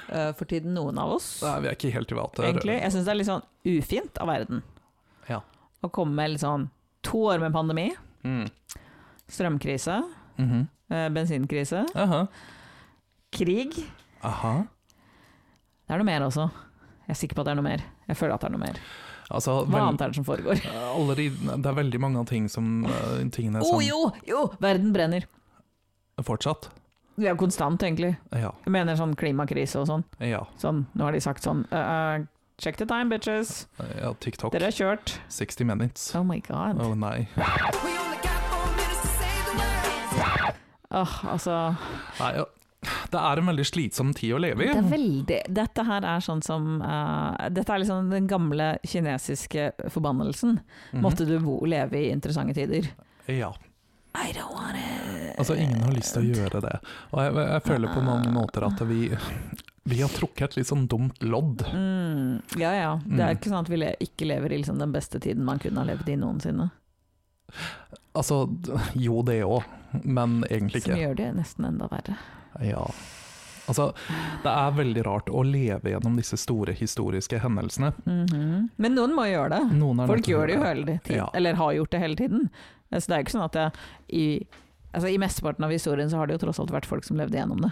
B: eh, for tiden, noen av oss.
C: Nei, vi er ikke helt i vater.
B: Egentlig. Jeg syns det er litt sånn ufint av verden
C: Ja.
B: å komme med litt sånn to år med pandemi,
C: Mm.
B: strømkrise,
C: Mhm.
B: eh, bensinkrise,
C: Aha.
B: krig.
C: Aha.
B: Det er noe mer også. Jeg er sikker på at det er noe mer. Jeg føler at det er noe mer.
C: Altså,
B: Hva
C: vel,
B: annet er det som foregår?
C: alle de, det er veldig mange av ting som eh, tingene
B: Å
C: som
B: Oh, jo, jo! Verden brenner.
C: Fortsatt?
B: Det er jo konstant, egentlig.
C: Ja.
B: Jeg mener sånn klimakrise og sånn.
C: Ja.
B: sånn nå har de sagt sånn «Uh, uh, Check the time, bitches.
C: ja TikTok.
B: Dere er kjørt.
C: 60 minutes. Å
B: Oh my god.
C: oh, nei.
B: Åh, altså,
C: nei. ja. Det er en veldig slitsom tid å leve i.
B: det er veldig Dette her er sånn som eh, Dette er liksom den gamle kinesiske forbannelsen.
C: Mhm.
B: Måtte du bo, leve i interessante tider.
C: Ja.
B: I don't want it.
C: Altså, ingen har lyst til å gjøre det. Og jeg, jeg føler på mange måter at vi, vi har trukket et litt sånn dumt lodd.
B: Mm, ja ja. Det er
C: Mm.
B: ikke sånn at vi le ikke lever i liksom den beste tiden man kunne ha levd i noensinne.
C: Altså, jo det òg, men egentlig
B: Som
C: ikke.
B: gjør det nesten enda verre.
C: Ja. Altså, det er veldig rart å leve gjennom disse store historiske hendelsene.
B: Mhm. Men noen må gjøre det.
C: Noen er nødt
B: Folk
C: til å
B: gjør det jo
C: gjøre
B: hele tiden,
C: Ja.
B: eller har gjort det hele tiden. Så det er jo ikke sånn at jeg, i, altså I mesteparten av historien så har det jo tross alt vært folk som levde gjennom det.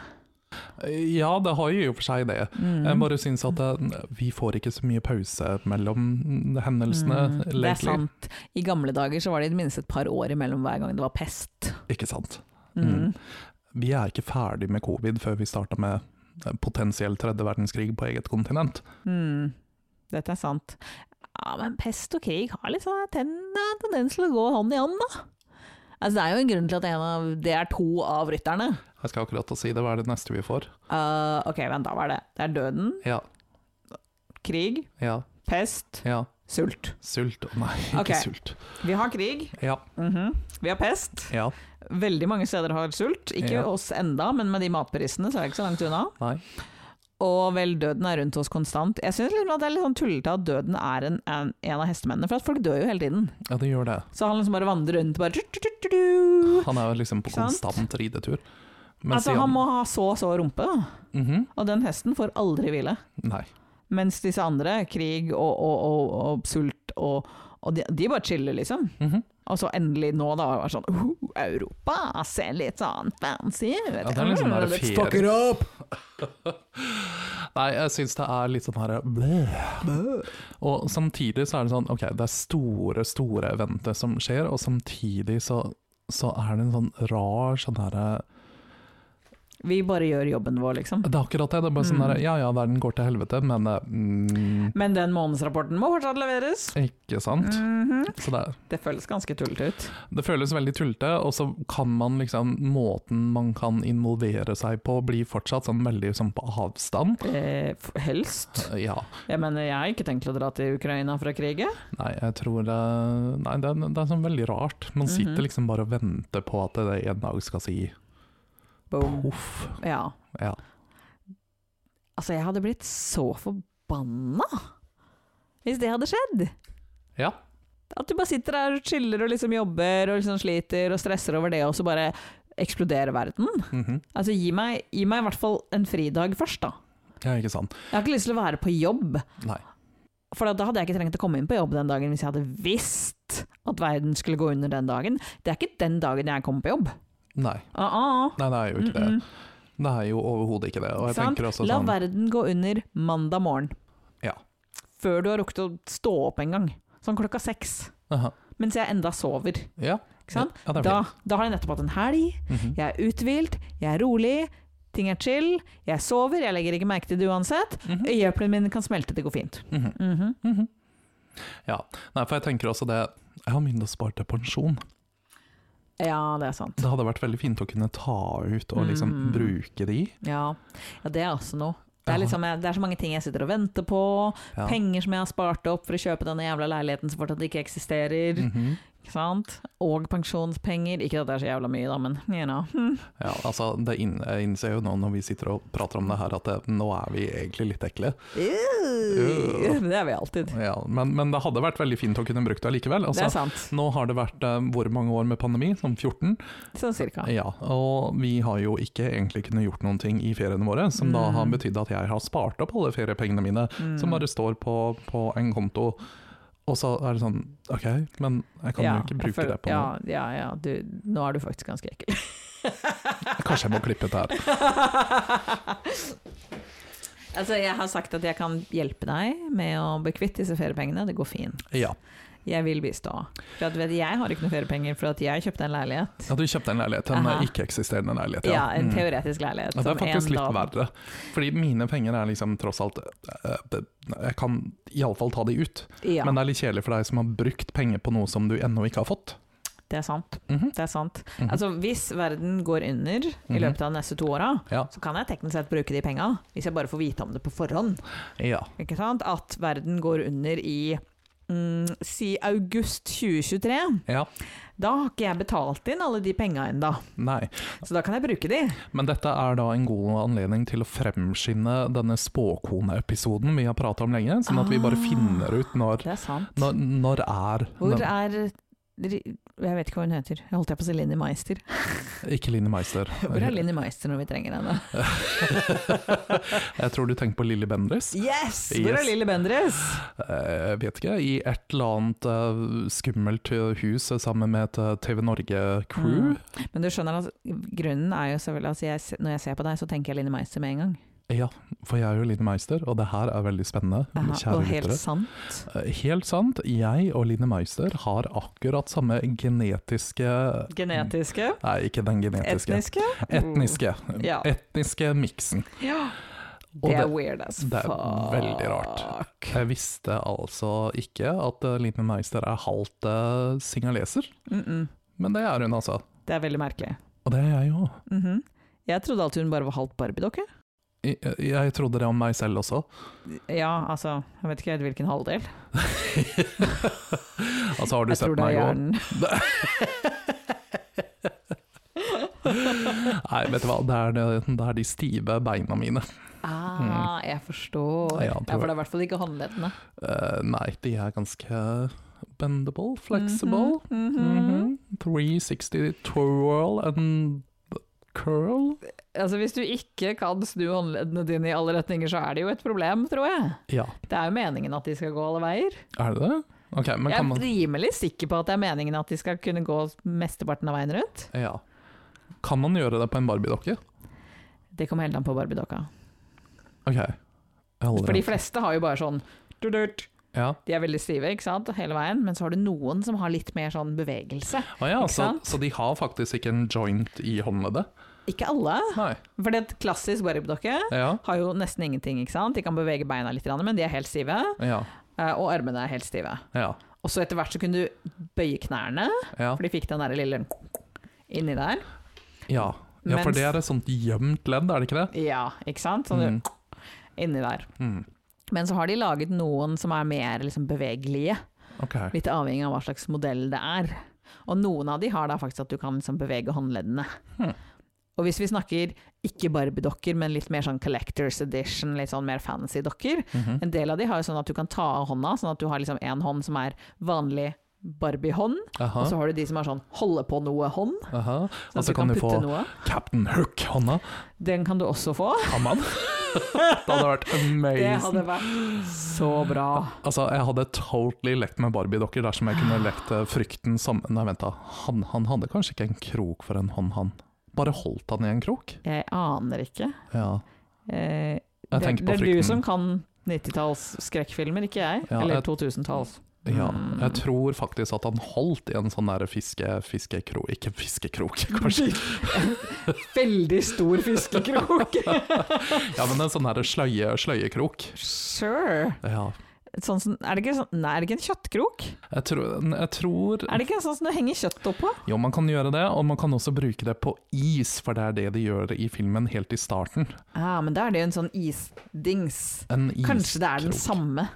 C: Ja, det har jo i og for seg det.
B: Mm.
C: Jeg bare syns at eh, vi får ikke så mye pause mellom hendelsene.
B: Mm. Det
C: lately.
B: er sant. I gamle dager så var det i det minste et par år imellom hver gang det var pest.
C: Ikke sant.
B: Mm.
C: Mm. Vi er ikke ferdig med covid før vi starta med eh, potensiell tredje verdenskrig på eget kontinent.
B: Mm. Dette er sant. Ja, men pest og krig har litt sånn ten- tendens til å gå hånd i hånd, da. Altså, det er jo en grunn til at en av, det er to av rytterne.
C: Jeg skal akkurat til å si det, hva er det neste vi får?
B: Eh, ok, vent, da var det Det er døden,
C: Ja,
B: krig,
C: ja,
B: pest,
C: ja.
B: sult.
C: Sult. Å nei, ikke
B: Ok.
C: sult.
B: Vi har krig,
C: Ja,
B: Mhm. Vi har pest.
C: ja,
B: Veldig mange steder har sult. Ikke
C: Ja.
B: oss enda, men med de matprisene så er det ikke så langt unna.
C: nei.
B: Og vel, døden er rundt oss konstant. Jeg syns det er litt sånn tullete at døden er en, en, en av hestemennene, for at folk dør jo hele tiden.
C: Ja, det gjør det.
B: Så han liksom bare vandrer rundt og bare tut, tut, tut, tut.
C: Han er jo liksom på
B: Ikke sant?
C: konstant ridetur. Mens
B: Altså,
C: Jan-
B: han må ha så så rumpe, da.
C: Mhm.
B: og den hesten får aldri hvile.
C: Nei.
B: Mens disse andre, krig og, og, og, og sult og, og de, de bare chiller, liksom.
C: Mhm.
B: Og så endelig nå, da, var det sånn oh, Europa ser litt sånn fancy ut. Mm,
C: Ja, det er liksom den der
B: Let's
C: ferie-
B: fuck it up.
C: Nei, jeg syns det er litt sånn her bleh. Og samtidig så er det sånn, ok, det er store, store eventer som skjer, og samtidig så, så er det en sånn rar sånn herre
B: Vi bare gjør jobben vår, liksom.
C: Det er akkurat det. Det er bare sånn
B: Mm.
C: der, ja ja, verden går til helvete, men eh, mm,
B: Men den månedsrapporten må fortsatt leveres.
C: Ikke sant?
B: Mhm.
C: Så det, er-
B: Det føles ganske tullete ut.
C: det føles veldig tullete, og så kan man liksom Måten man kan involvere seg på, blir fortsatt sånn veldig sånn på avstand.
B: Eh, f- helst.
C: Ja.
B: Jeg mener, jeg har ikke tenkt å dra til Ukraina fra krigen.
C: Nei, jeg tror det, nei, det, er- det er sånn veldig rart. Man sitter
B: Mhm.
C: liksom bare og venter på at det en dag skal si
B: Boom.
C: poff.
B: Ja.
C: Ja.
B: Altså, jeg hadde blitt så forbanna hvis det hadde skjedd.
C: ja.
B: At du bare sitter der og chiller og liksom jobber og liksom sliter og stresser over det, og så bare eksploderer verden.
C: mhm.
B: Altså, gi meg, gi meg i hvert fall en fridag først, da.
C: Ja, ikke sant.
B: Jeg har ikke lyst til å være på jobb.
C: Nei.
B: For da hadde jeg ikke trengt å komme inn på jobb den dagen hvis jeg hadde visst at verden skulle gå under den dagen. Det er ikke den dagen jeg kommer på jobb.
C: Nei.
B: Ah, ah.
C: Nei, det er jo ikke
B: Mm, mm.
C: det. Det er jo overhodet ikke det. Og jeg
B: Sant?
C: tenker også
B: La
C: sånn
B: verden gå under mandag morgen.
C: Ja.
B: Før du har rukket å stå opp en gang. Sånn klokka seks.
C: aha,
B: Mens jeg enda sover.
C: Ja.
B: Ikke sant?
C: Ja, det er
B: Da,
C: fint.
B: da har jeg nettopp hatt en helg.
C: Mhm.
B: Jeg er uthvilt, jeg er rolig, ting er chill, jeg sover, jeg legger ikke merke til det uansett.
C: Mhm.
B: Øyeeplene mine kan smelte, det går fint.
C: Mhm.
B: Mhm.
C: Mhm. Ja. Nei, for jeg tenker også det Jeg har mindre å spare til pensjon.
B: Ja, det er sånn. sant.
C: Det hadde vært veldig fint å kunne ta ut og
B: Mm.
C: liksom bruke de.
B: Ja. ja, det er også noe. Det er,
C: Ja.
B: liksom, jeg- det er så mange ting jeg sitter og venter på.
C: Ja.
B: Penger som jeg har spart opp for å kjøpe denne jævla leiligheten som fortsatt ikke eksisterer.
C: Mhm.
B: Ikke sant? Og pensjonspenger. Ikke at det er så jævla mye, da, men you know.
C: Ja, altså, det inn, jeg innser jo nå når vi sitter og prater om det her, at det, nå er vi egentlig litt ekle.
B: Ew. Det er vi alltid.
C: Ja, men, men det hadde vært veldig fint å kunne brukt det allikevel.
B: det er
C: Altså,
B: sant.
C: nå har det vært eh, hvor mange år med pandemi? Som 14?
B: Sånn cirka.
C: Ja, og vi har jo ikke egentlig kunnet gjort noen ting i feriene våre, som da har
B: Mm.
C: betydd at jeg har spart opp alle feriepengene mine, som bare står på, på en konto. Og så er det sånn, ok, men jeg kan jo ikke bruke det på
B: ja,
C: noe.
B: Ja, ja, du, nå er du faktisk ganske ekkel.
C: Kanskje jeg må klippe ut det her.
B: altså, jeg har sagt at jeg kan hjelpe deg med å bli kvitt disse feriepengene. Det går fint.
C: Ja.
B: Jeg vil bistå. For at, vet, du, jeg har ikke noe feriepenger for at jeg kjøpte en leilighet.
C: ja, du kjøpte en leilighet, en
B: Aha.
C: eh, ikke-eksisterende leilighet.
B: Ja, en
C: Mm.
B: teoretisk leilighet.
C: Ja, det er
B: som en
C: faktisk litt
B: dag-
C: verre. Fordi mine penger er liksom tross alt eh, det- Jeg kan iallfall ta de ut,
B: Ja,
C: men det er litt kjedelig for deg som har brukt penger på noe som du ennå ikke har fått.
B: det er sant.
C: Mhm.
B: Det er sant.
C: Mhm.
B: Altså, hvis verden går under i
C: Mhm.
B: løpet av de neste to åra,
C: Ja.
B: så kan jeg teknisk sett bruke de penga, hvis jeg bare får vite om det på forhånd.
C: Ja.
B: Ikke sant? At verden går under i mm, si august 2023.
C: ja.
B: Da har ikke jeg betalt inn alle de penga ennå,
C: Nei.
B: så da kan jeg bruke de.
C: Men dette er da en god anledning til å fremskynde denne spåkoneepisoden vi har prata om lenge, sånn at vi bare
B: Ah.
C: finner ut når
B: Det er sant.
C: Når, når er
B: Hvor
C: den-
B: er Ri- Jeg vet ikke hva hun heter. Jeg holdt jeg på å si Linni Meister.
C: Ikke Line Meister.
B: Hvor er Linni Meister når vi trenger henne?
C: Jeg tror du tenker på Lilly Bendriss.
B: Yes! Hvor er
C: Yes.
B: Lille Bendriss?
C: Eh, Jeg vet ikke, i et eller annet eh, skummelt eh, hus eh, sammen med et eh, TV Norge-crew.
B: Men du skjønner at grunnen er jo selvfølgelig altså jeg, se- Når jeg ser på deg, så tenker jeg Linni Meister med en gang.
C: Ja, for jeg er jo Line Meister, og det her er veldig spennende.
B: Aha,
C: kjære
B: og helt
C: lyttere.
B: sant.
C: Eh, Helt sant. Jeg og Line Meister har akkurat samme genetiske
B: Genetiske.
C: Nei, ikke den genetiske.
B: Etniske.
C: Etniske.
B: Mm. Ja.
C: Etniske miksen.
B: Ja.
C: Og
B: Det er
C: det-
B: weird as fuck.
C: det er veldig rart. Jeg visste altså ikke at eh, Line Meister er halvt eh, singaleser,
B: Mm -mm.
C: men det er hun altså.
B: Det er veldig merkelig.
C: Og det er jeg òg.
B: Mhm. Jeg trodde alltid hun bare var halvt barbiedokke.
C: Jeg, eh, jeg trodde det om meg selv også.
B: Ja, altså Jeg vet ikke helt hvilken halvdel.
C: Altså, har du
B: Jeg tror
C: sett
B: det er
C: meg gå?
B: hjernen.
C: Nei, vet du hva, det er, det, det er de stive beina mine.
B: Ah, jeg forstår.
C: Ja,
B: Ja,
C: det
B: for
C: var-
B: det er i hvert fall ikke håndleddene.
C: Eh, nei, de er ganske bendable, flexible.
B: Mhm, mhm.
C: Mhm. 360 twirl and curl.
B: Altså, hvis du ikke kan snu håndleddene dine i alle retninger, så er det jo et problem, tror jeg.
C: Ja,
B: Det er jo meningen at de skal gå alle veier.
C: er det det? Ok, men
B: Jeg
C: kan
B: er
C: man,
B: rimelig sikker på at det er meningen at de skal kunne gå mesteparten av veien rundt.
C: ja. kan man gjøre det på en Barbie-dokke?
B: Det kommer helt an på Barbie-dokka.
C: Ok. Jeg har aldri-
B: For de fleste har jo bare sånn tudut.
C: ja.
B: De er veldig stive ikke sant, hele veien, men så har du noen som har litt mer sånn bevegelse.
C: Å ja
B: Ikke
C: så,
B: sant?
C: så de har faktisk ikke en joint i håndleddet?
B: Ikke alle,
C: Nei.
B: for det er et klassisk Barbie-dokke.
C: Ja.
B: Har jo nesten ingenting, ikke sant. De kan bevege beina litt, grann, men de er helt stive.
C: Ja.
B: eh, Og armene er helt stive.
C: Ja.
B: Og så etter hvert så kunne du bøye knærne,
C: Ja.
B: for de fikk den der lille inni der.
C: ja. ja for
B: Mens-
C: det er et sånt gjemt ledd, er det ikke det?
B: Ja, ikke sant. Sånn
C: Mm.
B: inni der.
C: Mm.
B: Men så har de laget noen som er mer liksom bevegelige,
C: Ok.
B: litt avhengig av hva slags modell det er. Og noen av de har da faktisk at du kan liksom bevege håndleddene.
C: Hmm.
B: Og hvis vi snakker ikke Barbie-dokker, men litt mer sånn collectors edition, litt sånn mer fancy dokker,
C: Mhm.
B: en del av de har jo sånn at du kan ta av hånda, sånn at du har liksom en hånd som er vanlig Barbie-hånd,
C: Aha.
B: og så har du de som har sånn holde på noe-hånd,
C: Aha.
B: sånn
C: Og
B: at
C: så
B: du
C: kan
B: kan
C: du
B: putte
C: få
B: noe.
C: Captain Hook-hånda.
B: Den kan du også få.
C: Kan man? det hadde vært
B: Det
C: amazing.
B: hadde vært så bra.
C: Altså, jeg hadde totally lekt med Barbie-dokker dersom jeg kunne lekt eh, frykten som Nei, vent, da. Han, han hadde kanskje ikke en krok for en hånd, han. Bare holdt han i en krok?
B: Jeg aner ikke.
C: Ja.
B: Eh,
C: Jeg
B: det,
C: tenker
B: det
C: på
B: er
C: frykten.
B: du som kan 90-talls skrekkfilmer, ikke jeg.
C: Ja,
B: Eller
C: jeg-
B: 2000-talls.
C: Ja,
B: Mm.
C: jeg tror faktisk at han holdt i en sånn der fiske, fiskekro... Ikke fiskekrok, kanskje.
B: Veldig stor fiskekrok!
C: Ja, men en sånn der sløye, sløyekrok.
B: sure.
C: Ja.
B: Sånn som, er, det ikke sånn, nei, er det ikke en kjøttkrok?
C: Jeg tror, jeg tror
B: Er det ikke en sånn som du henger kjøtt oppå?
C: Jo, man kan gjøre det, og man kan også bruke det på is, for det er det de gjør i filmen helt i starten.
B: Ja, men da er det jo en sånn isdings.
C: En is.
B: Kanskje det er den
C: iskrok.
B: samme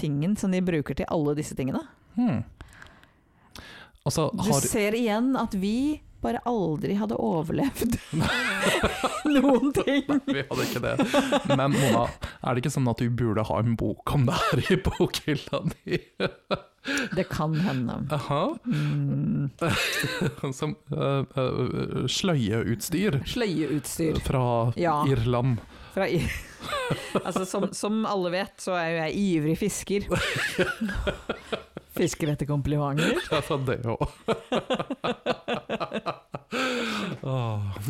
B: tingen som de bruker til alle disse tingene?
C: Hmm. Altså,
B: Du
C: har
B: ser igjen at vi bare aldri hadde overlevd noen ting.
C: Vi hadde ikke det. Men Mona, er det ikke sånn at du burde ha en bok om det her i bokhylla di?
B: Det kan hende.
C: Aha.
B: Mm.
C: Som øh, øh, sløyeutstyr
B: Sløyeutstyr.
C: fra
B: Ja.
C: Irland.
B: Fra i altså, som, som alle vet, så er jo jeg ivrig fisker. Fisker etter komplimenter.
C: Ja, fra det òg.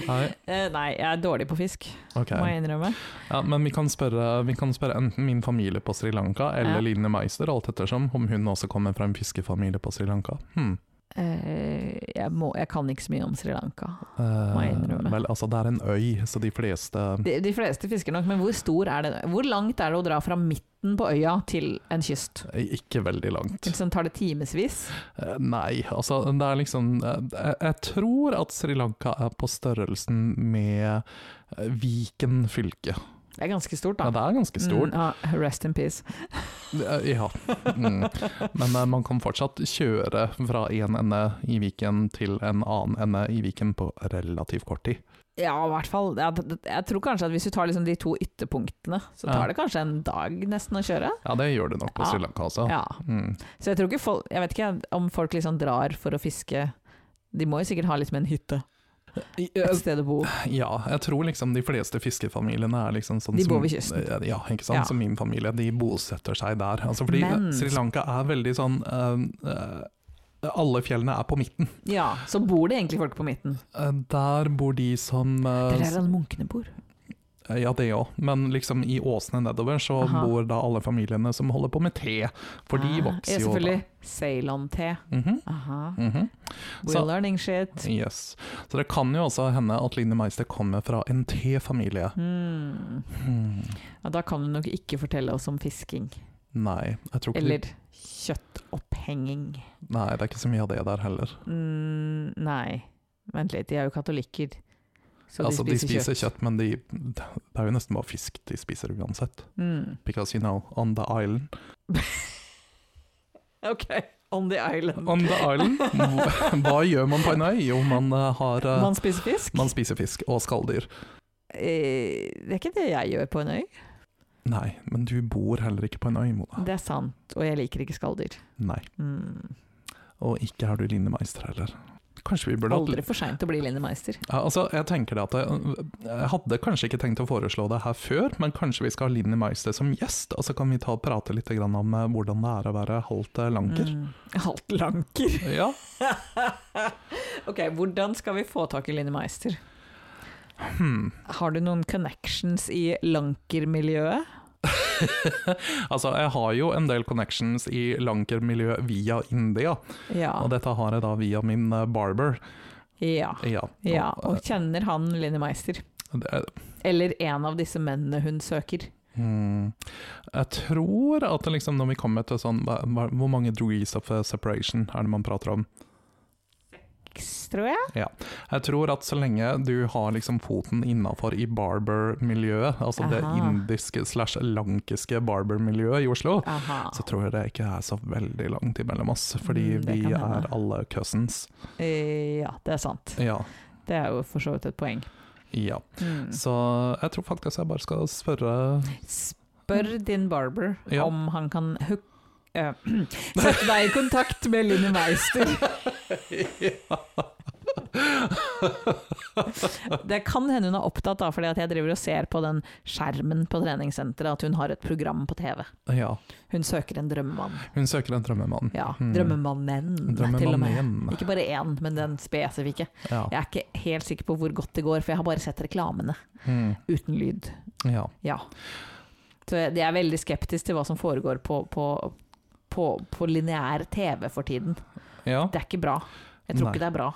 C: Nei,
B: Eh, nei, jeg er dårlig på fisk,
C: ok.
B: må jeg innrømme.
C: Ja, men vi kan, spørre, vi kan spørre enten min familie på Sri Lanka eller
B: Ja.
C: Line Meister, alt ettersom, om hun også kommer fra en fiskefamilie på Sri Lanka. Hmm.
B: Eh, jeg, må, jeg kan ikke så mye om Sri Lanka.
C: Eh,
B: jeg innrømme.
C: vel, altså, det er en øy, så de fleste
B: De, de fleste fisker nok, men hvor stor er det? Hvor langt er det å dra fra midten på øya til en kyst?
C: Ikke veldig langt.
B: Sånn tar det timevis.
C: Eh, Nei, altså det er liksom eh, Jeg, jeg tror at Sri Lanka er på størrelsen med eh, Viken fylke.
B: Det er ganske stort,
C: Ja,
B: da.
C: det er ganske stort.
B: Mm, ja, rest in peace.
C: Eh, Ja. Mm. Men eh, man kan fortsatt kjøre fra en ende i Viken til en annen ende i Viken på relativt kort tid.
B: Ja, i hvert fall. Jeg, jeg tror kanskje at hvis du tar liksom de to ytterpunktene, så tar
C: Ja.
B: det kanskje en dag nesten å kjøre.
C: Ja, det gjør det nok på
B: Ja.
C: Sri Lanka også.
B: Ja.
C: Mm.
B: Så jeg tror ikke folk Jeg vet ikke om folk liksom drar for å fiske De må jo sikkert ha liksom en hytte
C: I-
B: et
C: eh,
B: sted å bo.
C: Ja, jeg tror liksom de fleste fiskefamiliene er liksom sånn
B: De
C: som-
B: bor ved kysten.
C: Ja, ikke sant.
B: Ja.
C: Som min familie, de bosetter seg der. Altså fordi
B: Men-
C: Sri Lanka er veldig sånn eh, eh, Alle fjellene er på midten.
B: Ja, Så bor det egentlig folk på midten.
C: Eh, der bor de som eh,
B: Det er der alle munkene bor.
C: Ja, det òg, men liksom i åsene nedover så
B: Aha.
C: bor da alle familiene som holder på med te, for de
B: Ah,
C: vokser
B: ja,
C: jo da.
B: Selvfølgelig. Ceylon-te.
C: Mhm,
B: Aha.
C: mhm.
B: We're
C: Så-
B: learning shit.
C: Yes. Så det kan jo også hende at Line Meister kommer fra en tefamilie.
B: Hmm.
C: Hmm.
B: Ja, da kan du nok ikke fortelle oss om fisking.
C: Nei, jeg tror ikke de-
B: Eller kjøttopphenging.
C: Nei, det er ikke så mye av det der heller.
B: Mm, nei, vent litt, de er jo katolikker. Så
C: altså, de spiser kjøtt, men de, det er jo nesten bare fisk de spiser uansett.
B: Mm.
C: Because you know, on the island
B: Ok, on the island.
C: On the island? Hva gjør man på en øy? Jo, man eh, har eh,
B: Man spiser fisk?
C: Man spiser fisk og skalldyr.
B: Eh, det er ikke det jeg gjør på en øy.
C: Nei, men du bor heller ikke på en øy, Mona.
B: Det er sant, og jeg liker ikke skalldyr.
C: Nei.
B: Mm.
C: Og ikke er du linemeister heller. Kanskje vi burde hatt
B: Aldri for seint å bli Linni Meister.
C: ja, altså, jeg tenker det at jeg, jeg hadde kanskje ikke tenkt å foreslå det her før, men kanskje vi skal ha Linni Meister som gjest, og så kan vi ta og prate litt grann om eh, hvordan det er å være halvt eh, lanker.
B: Mm.
D: Halvt lanker.
C: Ja,
B: Ok, hvordan skal vi få tak i Linni Meister?
C: hmm.
B: Har du noen connections i lankermiljøet?
C: Altså, jeg har jo en del connections i lankermiljøet via India,
B: Ja.
C: og dette har jeg da via min eh, barber.
B: ja.
C: Ja,
B: Ja,
C: og,
B: og kjenner han Linni Meister?
C: eh, det, er-
B: Eller en av disse mennene hun søker?
C: hmm. Jeg tror at det liksom når vi kommer til sånn hva, hva, Hvor mange degrees of eh, separation er det man prater om?
B: X, tror jeg.
C: Jeg tror at så lenge du har liksom foten innafor i barber-miljøet, altså det
B: Aha.
C: indiske slash lankiske barber-miljøet i Oslo,
B: Aha.
C: så tror jeg det ikke er så veldig langt imellom oss, fordi
B: Mm, det
C: vi
B: kan
C: er
B: hende.
C: alle cousins.
B: Eh, Ja, det er sant.
C: Ja.
B: Det er jo for så vidt et poeng.
C: ja.
B: Mm.
C: Så jeg tror faktisk jeg bare skal spørre
B: Spør din barber
C: Ja.
B: om han kan hook... eh, Sette deg i kontakt med Linni Meister. Det kan hende hun er opptatt av, fordi at jeg driver og ser på den skjermen på treningssenteret, at hun har et program på TV.
C: Ja,
B: Hun søker en drømmemann.
C: hun søker en drømmemann.
B: Ja,
C: Mm.
B: drømmemannen, til og med.
C: Drømmemannen. Ah.
B: Ikke bare én, men den spesifikke.
C: Ja.
B: Jeg er ikke helt sikker på hvor godt det går, for jeg har bare sett reklamene
C: Mm.
B: uten lyd.
C: ja.
B: Ja. Så jeg jeg er veldig skeptisk til hva som foregår på, på, på, på lineær TV for tiden.
C: ja.
B: Det er ikke bra. Jeg tror
C: Nei.
B: ikke det er bra.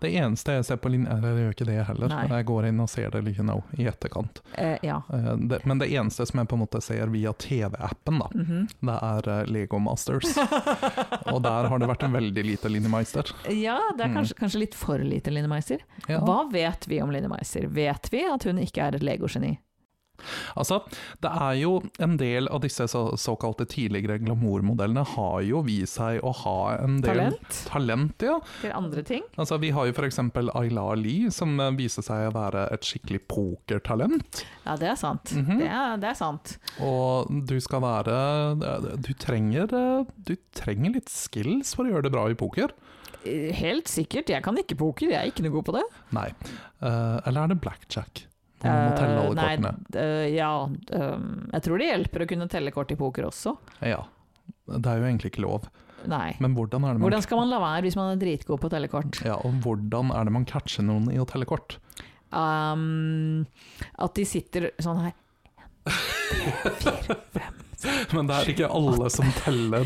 C: Det eneste jeg ser på linje Eller jeg gjør ikke det heller,
B: Nei.
C: jeg går inn og ser det you know, i etterkant.
B: Eh, ja.
C: Eh, det, men det eneste som jeg på en måte ser via TV-appen, da,
B: Mhm.
C: det er eh, Lego Masters. og der har det vært en veldig lite Linni Meister.
B: ja, det er kanskje, kanskje litt for lite Line Meister.
C: Ja.
B: Hva vet vi om Line Meister? Vet vi at hun ikke er et legogeni?
C: Altså, det er jo en del av disse så, såkalte tidligere glamourmodellene har jo vist seg å ha en del
B: Talent
C: Talent, ja.
B: til andre ting?
C: Altså, vi har jo f.eks. Ayla Ali, som eh, viser seg å være et skikkelig pokertalent.
B: Ja, det er sant.
C: Mhm.
B: det, er, det er sant.
C: Og du skal være eh, Du trenger, eh, du trenger litt skills for å gjøre det bra i poker.
B: Eh, Helt sikkert. Jeg kan ikke poker, jeg er ikke noe god på det.
C: Nei. Eh, eller er det blackjack? Hvor man må telle
B: Eh,
C: alle
B: nei,
C: kortene.
B: eh, ja, eh, jeg tror det hjelper å kunne telle kort i poker også.
C: Ja. Det er jo egentlig ikke lov.
B: Nei.
C: Men hvordan er det man,
B: Hvordan skal man la være hvis man er dritgod på å telle kort?
C: ja, og hvordan er det man catcher noen i å telle kort?
B: Um, at de sitter sånn her
C: Men det er ikke alle som teller.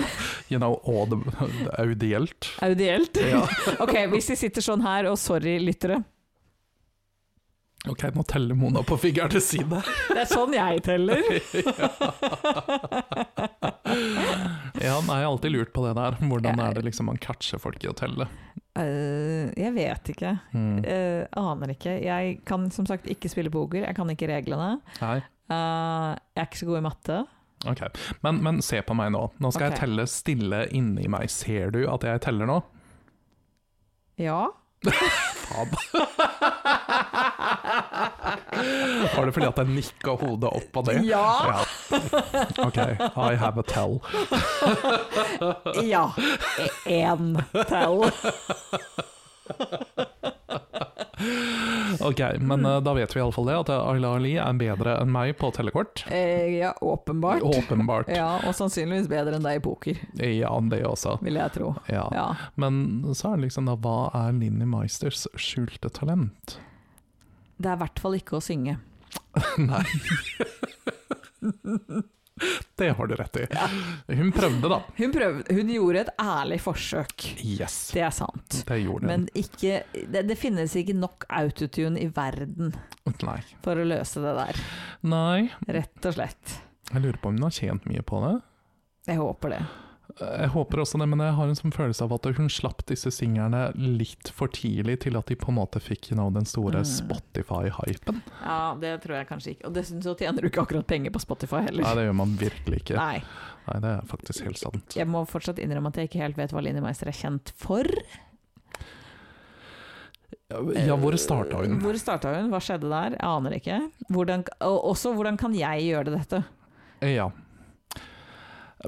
C: you know, og det, det er ideelt.
B: audielt.
C: Ja.
B: ok, hvis de sitter sånn her, og sorry, lyttere.
C: Ok, nå teller Mona på fingeren til side.
B: Det er sånn jeg teller.
C: Ja, nei, jeg har alltid lurt på det der. Hvordan
B: Ja.
C: er det liksom man catcher folk i å telle?
B: Eh, jeg vet ikke.
C: Mm.
B: Eh, aner ikke. Jeg kan som sagt ikke spille poker, jeg kan ikke reglene.
C: Nei,
B: Eh, jeg er ikke så god i matte.
C: ok. Men, men se på meg nå. Nå skal
B: Ok.
C: jeg telle stille inni meg. Ser du at jeg teller nå?
B: Ja.
C: Faen. Var det fordi at jeg nikka hodet opp av det?
B: Ja.
C: Ok, I have a tell.
B: Ja. Én tell.
C: Ok, men eh, da vet vi iallfall det, at Ayla Ali er bedre enn meg på tellekort.
B: Eh, ja, åpenbart.
C: Åpenbart.
B: Ja, og sannsynligvis bedre enn deg i poker,
C: Ja, det også.
B: vil jeg tro.
C: Ja.
B: Ja.
C: Men så er det liksom da, hva er Linni Meisters skjulte talent?
B: Det er i hvert fall ikke å synge.
C: Nei. det har du rett i. Hun prøvde, da.
B: Hun, prøvde, hun gjorde et ærlig forsøk,
C: Yes,
B: det er sant.
C: det gjorde hun.
B: Men ikke, det, det finnes ikke nok autotune i verden
C: Nei.
B: for å løse det der,
C: Nei.
B: rett og slett.
C: Jeg lurer på om hun har tjent mye på det.
B: Jeg håper det.
C: Jeg håper også det, men jeg har en sånn følelse av at hun slapp disse singlene litt for tidlig til at de på en måte fikk you know, den store
B: Mm.
C: Spotify-hypen.
B: Ja, det tror jeg kanskje ikke. Og dessuten så tjener du ikke akkurat penger på Spotify
C: Nei,
B: heller.
C: det gjør man virkelig ikke.
B: Nei.
C: Nei, det er faktisk helt sant.
B: Jeg må fortsatt innrømme at jeg ikke helt vet hva Linni Meister er kjent for.
C: Ja, hvor starta hun?
B: Hvor starta hun? Hva skjedde der? Jeg aner ikke. Hvordan, og også hvordan kan jeg gjøre dette?
C: Ja.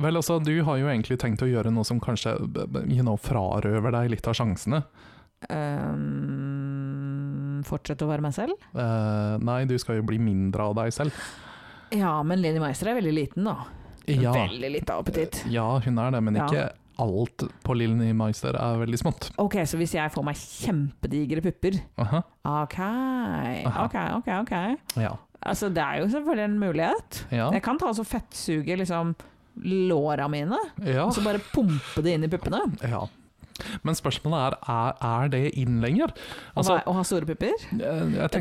C: Vel, altså, du har jo egentlig tenkt å gjøre noe som kanskje b- b- you know, frarøver deg litt av sjansene.
B: Ehm, fortsette å være meg selv?
C: Eh, nei, du skal jo bli mindre av deg selv.
B: Ja, men Linni Meister er veldig liten, da.
C: Ja,
B: Veldig lite appetitt.
C: ja hun er det, men
B: Ja.
C: ikke alt på Lilly Meister er veldig smått.
B: Ok, så hvis jeg får meg kjempedigre pupper
C: Aha.
B: Ok, ok, ok. ok.
C: Ja.
B: Altså, det er jo selvfølgelig en mulighet.
C: Ja.
B: Jeg kan ta og så fettsuge liksom låra mine,
C: ja.
B: og så bare pumpe det inn i puppene.
C: ja. Men spørsmålet er, er er det inn lenger?
B: Og,
C: Altså,
B: være- og ha store pupper. Jeg,
C: jeg, tenker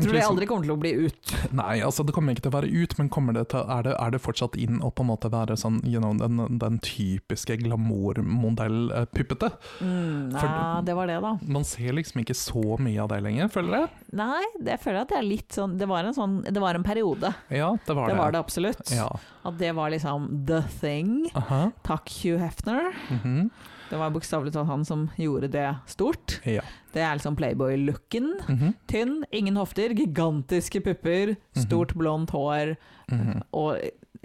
B: tror det
C: liksom-
B: aldri kommer til å bli ut.
C: Nei, altså det kommer ikke til å være ut, men kommer det til, er, det, er det fortsatt inn å på en måte være sånn, you know, den, den typiske glamourmodell-puppete?
B: Mm,
C: For-
B: ja, det var det, da.
C: Man ser liksom ikke så mye av det lenger, føler jeg.
B: Nei, det, jeg føler at det er litt sånn Det var en, sånn, det var en periode.
C: Ja, det var
B: Det
C: det.
B: var det absolutt.
C: Ja.
B: At det var liksom the thing.
C: Aha.
B: Takk, Hugh Hefner.
C: mhm.
B: Det var bokstavelig talt han som gjorde det stort.
C: Ja.
B: Det er liksom playboy-looken.
C: Mhm.
B: Tynn, ingen hofter, gigantiske pupper, stort blondt hår
C: Mhm.
B: og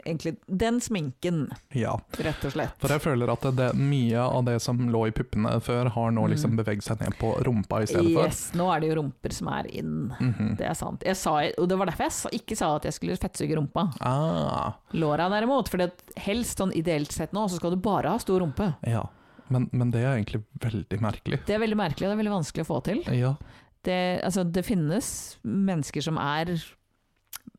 B: egentlig den sminken,
C: ja.
B: rett og slett.
C: For jeg føler at det, mye av det som lå i puppene før, har nå liksom beveget seg ned på rumpa i stedet for.
B: Mm. Yes, nå er det jo rumper som er in.
C: Mhm.
B: Det er sant. Jeg sa, og det var derfor jeg sa, ikke sa at jeg skulle fettsuge rumpa.
C: Ah,
B: Låra derimot, for helst sånn ideelt sett nå, så skal du bare ha stor rumpe.
C: ja. Men, men det er egentlig veldig merkelig.
B: Det er veldig merkelig, og det er veldig vanskelig å få til.
C: Ja.
B: Det, altså, det finnes mennesker som er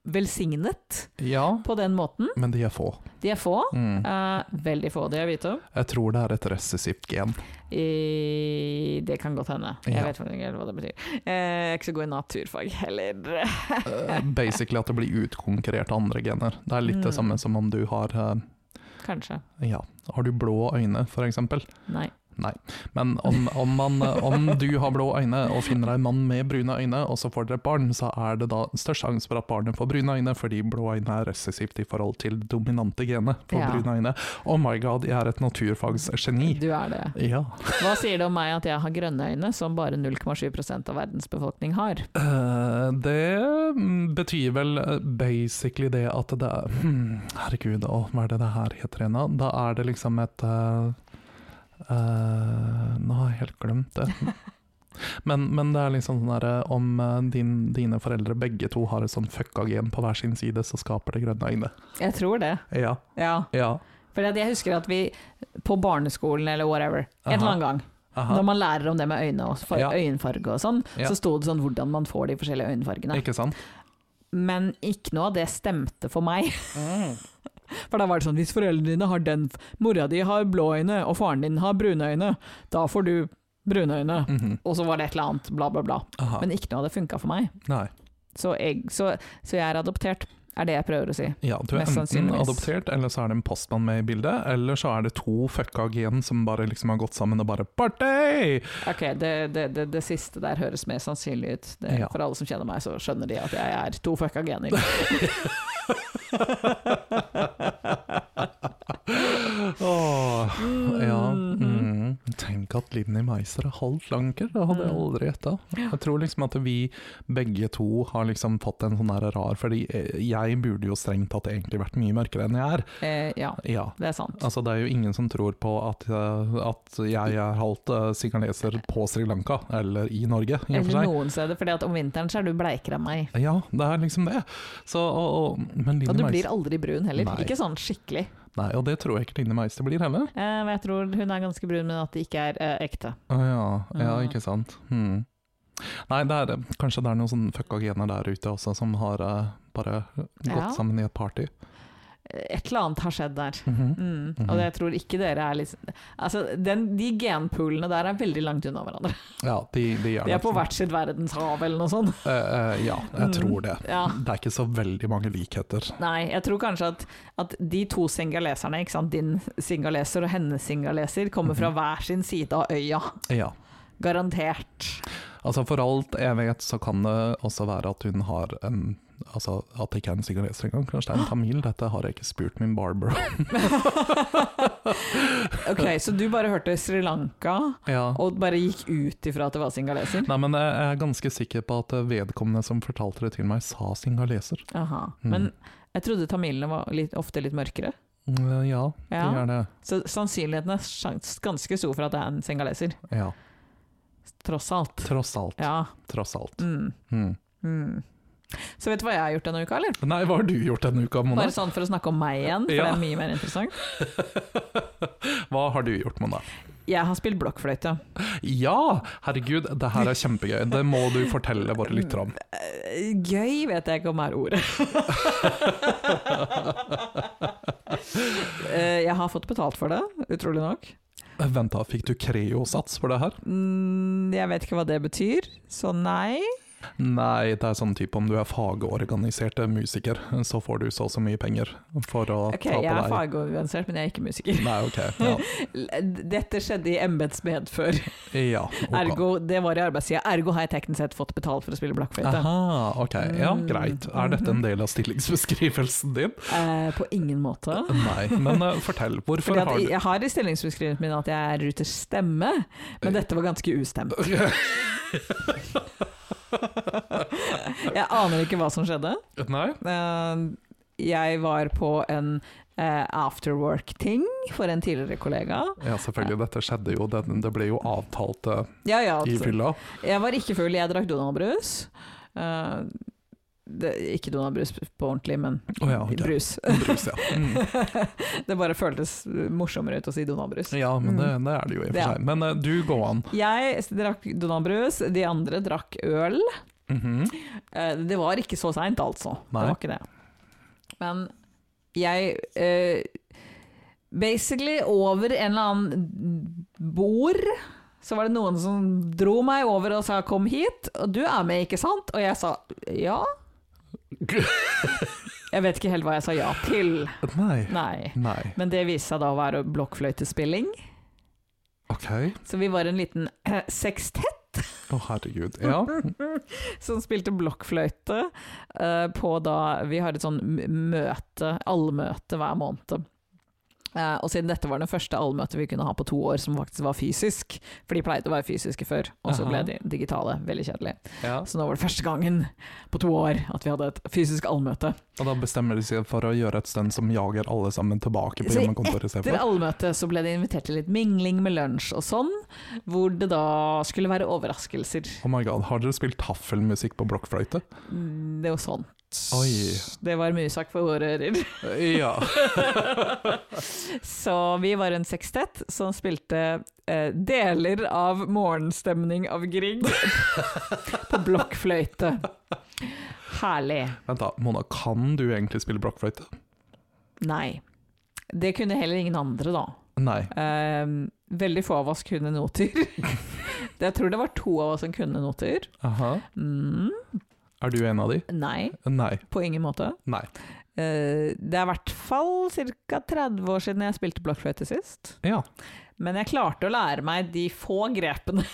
B: velsignet
C: ja,
B: på den måten.
C: men de er få.
B: De er få.
C: Mm.
B: eh, veldig få, det jeg vet om.
C: Jeg tror det er et recessivt gen.
B: I, det kan godt hende. Jeg
C: Ja.
B: vet faktisk ikke helt hva det betyr. Eh, jeg er ikke så god i naturfag heller.
C: Eh, Basically at det blir utkonkurrert av andre gener. Det er litt det
B: Mm.
C: samme som om du har eh,
B: Kanskje.
C: Ja, har du blå øyne, for eksempel?
B: Nei.
C: Men om, om, man, eh, om du har blå øyne og finner en mann med brune øyne, og så får dere et barn, så er det da størst sjanse for at barnet får brune øyne, fordi blå øyne er resessivt i forhold til det dominante genet på
B: Ja.
C: brune øyne. Oh my god, jeg er et naturfagsgeni!
B: Du er det.
C: Ja.
B: Hva sier det om meg at jeg har grønne øyne, som bare 0,7 av verdens befolkning har?
C: Eh, Det mm, betyr vel eh, basically det at det er hmm, Herregud, å, hva er det det her heter igjen? da? Da er det liksom et eh, eh, Nå har jeg helt glemt det. Men, men det er liksom sånn derre om eh, din, dine foreldre begge to har et sånn fucka gen på hver sin side, så skaper det grønne øyne.
B: Jeg tror det.
C: Ja.
B: Ja.
C: Ja.
B: For jeg husker at vi på barneskolen eller whatever, en eller
C: Aha.
B: annen gang,
C: Aha.
B: når man lærer om det med øyne og far
C: Ja.
B: øyenfarge og sånn,
C: Ja.
B: så sto det sånn hvordan man får de forskjellige øyenfargene.
C: Ikke sant?
B: Men ikke noe av det stemte for meg. Mm. For da var det sånn hvis foreldrene dine har den f- Mora di har blå øyne, og faren din har brune øyne, da får du brune øyne.
C: Mhm.
B: Og så var det et eller annet, bla, bla, bla.
C: Aha.
B: Men ikke noe av det funka for meg.
C: Nei.
B: Så jeg, så, så jeg er adoptert, er det jeg prøver å si.
C: Ja, du er
B: Mest
C: enten
B: sannsynligvis.
C: adoptert, eller så er det en postmann med i bildet, eller så er det to fucka gen som bare liksom har gått sammen og bare Party!
B: Ok, det, det, det, det siste der høres mer sannsynlig ut. Det,
C: Ja.
B: For alle som kjenner meg, så skjønner de at jeg er to fucka gener.
C: Åh, ja.
B: Mm-hmm.
C: Mm. Tenk at Linni Meiser er halvt lanker, det hadde jeg
B: Mm.
C: aldri gjetta. Jeg tror liksom at vi begge to har liksom fått en sånn her rar, fordi eh, jeg burde jo strengt tatt egentlig vært mye mørkere enn jeg er.
B: Eh, ja,
C: Ja.
B: det er sant.
C: Altså, det er jo ingen som tror på at, eh, at jeg er halvt eh, singaleser på Sri Lanka, eller i Norge, i og for
B: Eller
C: seg.
B: noen steder, for om vinteren så er du bleikere enn meg.
C: Ja, det er liksom det. Så, og, og, men Linni
B: Og du
C: Meister-
B: blir aldri brun heller.
C: Nei.
B: Ikke sånn skikkelig.
C: Nei, og det tror jeg ikke Line Meister blir heller.
B: Eh, men jeg tror hun er ganske brun, men at det ikke er eh, ekte.
C: Å ja, ja
B: Mm.
C: ikke sant. Hmm. Nei, det er, kanskje det er noen sånne fucka gener der ute også, som har eh, bare gått
B: Ja.
C: sammen i et party.
B: Et eller annet har skjedd der.
C: Mhm.
B: Mm.
C: Mhm.
B: Og jeg tror ikke dere er litt Altså, den, de genpoolene der er veldig langt unna hverandre.
C: Ja, de, de er,
B: De er
C: nok-
B: på hvert Mm. sitt verdenshav eller noe sånt.
C: Eh, eh, ja, jeg tror det.
B: Ja.
C: Det er ikke så veldig mange likheter.
B: Nei, jeg tror kanskje at, at de to singaleserne, ikke sant? din singaleser og hennes singaleser, kommer fra
C: Mhm.
B: hver sin side av øya.
C: Ja.
B: Garantert.
C: Altså, for alt jeg vet, så kan det også være at hun har en Altså, at det ikke er en singaleser engang. Kanskje det er en tamil? Dette har jeg ikke spurt min barber om.
B: Ok, Så du bare hørte Sri Lanka
C: Ja.
B: og bare gikk ut ifra at det var singaleser?
C: Nei, men jeg jeg er ganske sikker på at vedkommende som fortalte det til meg, sa singaleser.
B: Aha.
C: Mm.
B: Men jeg trodde tamilene var litt, ofte litt mørkere.
C: Mm, Ja, det
B: Ja.
C: gjør det.
B: Så sannsynligheten er sjans- ganske stor for at det er en sengaleser,
C: Ja.
B: tross alt.
C: Tross alt.
B: Ja.
C: Tross alt.
B: Mm.
C: Mm.
B: Mm. Så vet du hva jeg har gjort denne uka, eller?
C: Nei, hva har du gjort denne uka, Mona?
B: Bare sånn for å snakke om meg igjen, for
C: Ja.
B: det er mye mer interessant.
C: Hva har du gjort, Mona?
B: Jeg har spilt blokkfløyte.
C: Ja, herregud, det her er kjempegøy. Det må du fortelle våre lyttere om.
B: Eh, Gøy vet jeg ikke om er ordet. Eh, jeg har fått betalt for det, utrolig nok.
C: Vent da, fikk du Creo-sats for det her?
B: Mm, jeg vet ikke hva det betyr, så nei.
C: Nei, det er sånn type om du er fagorganisert musiker, så får du så og så mye penger for å
B: Ok,
C: ta
B: jeg
C: på
B: er
C: deg
B: fagorganisert, men jeg er ikke musiker.
C: Nei, ok. Ja.
B: Dette skjedde i embets medfør,
C: ja ok.
B: ergo det var i arbeidstida. Ergo har jeg teknisk sett fått betalt for å spille blokkfløyte.
C: Aha, ok. Ja,
B: Mm.
C: greit. Er dette en del av stillingsbeskrivelsen din?
B: Eh, på ingen måte.
C: Nei, men eh, fortell. Hvorfor
B: Fordi at
C: har du
B: jeg har i stillingsbeskrivelsen min at jeg er Ruters stemme,
C: Eh.
B: men dette var ganske ustemt. Jeg aner ikke hva som skjedde.
C: Nei?
B: Eh, jeg var på en eh, afterwork-ting for en tidligere kollega.
C: Ja, selvfølgelig. Dette skjedde jo. Det, det ble jo avtalt eh,
B: Ja, ja,
C: i
B: altså.
C: fylla.
B: Jeg var ikke full, jeg drakk Donald-brus. Eh, det, ikke Donald-brus på ordentlig, men
C: Å ja, ok.
B: brus.
C: Brus, ja. Mm.
B: det bare føltes morsommere ut å si Donald-brus.
C: ja, men det, det er det jo i og
B: Det
C: for
B: er-
C: seg. Men eh, du, gå an.
B: Jeg drakk Donald-brus, de andre drakk øl.
C: Mhm.
B: Eh, Det var ikke så seint, altså.
C: Nei.
B: Det var ikke det. Men jeg eh, Basically, over en eller annen bord så var det noen som dro meg over og sa 'kom hit', og 'du er med, ikke sant?' Og jeg sa ja. Jeg vet ikke helt hva jeg sa ja til.
C: Nei.
B: Nei.
C: Nei.
B: Men det viste seg da å være blokkfløytespilling.
C: Ok.
B: Så vi var en liten eh, sekstett
C: Å, herregud. Ja.
B: som spilte blokkfløyte eh, på da Vi har et sånn m- møte, allmøte hver måned. Eh, og siden dette var det første allmøtet vi kunne ha på to år som faktisk var fysisk, for de pleide å være fysiske før, og så ble
C: Aha.
B: de digitale. Veldig kjedelig.
C: ja.
B: Så nå var det første gangen på to år at vi hadde et fysisk allmøte.
C: Og da bestemmer de seg for å gjøre et stund som jager alle sammen tilbake på
B: Så
C: hjemmekontoret
B: Etter
C: istedenfor.
B: allmøtet så ble de invitert til litt mingling med lunsj og sånn, hvor det da skulle være overraskelser.
C: Oh my god, har dere spilt taffelmusikk på blokkfløyte?
B: Mm, Det var sånn.
C: Oi.
B: Det var mye sak for våre ører.
C: Ja.
B: Så vi var en sekstett som spilte eh, deler av morgenstemning av Grieg på blokkfløyte. Herlig.
C: Vent da, Mona, kan du egentlig spille blokkfløyte?
B: Nei. Det kunne heller ingen andre, da.
C: Nei.
B: Eh, veldig få av oss kunne noter. Jeg tror det var to av oss som kunne noter.
C: Aha.
B: Mm,
C: Er du en av de?
B: nei,
C: Nei.
B: på ingen måte.
C: Nei.
B: Eh, det er i hvert fall ca. 30 år siden jeg spilte blokkfløyte sist.
C: Ja.
B: Men jeg klarte å lære meg de få grepene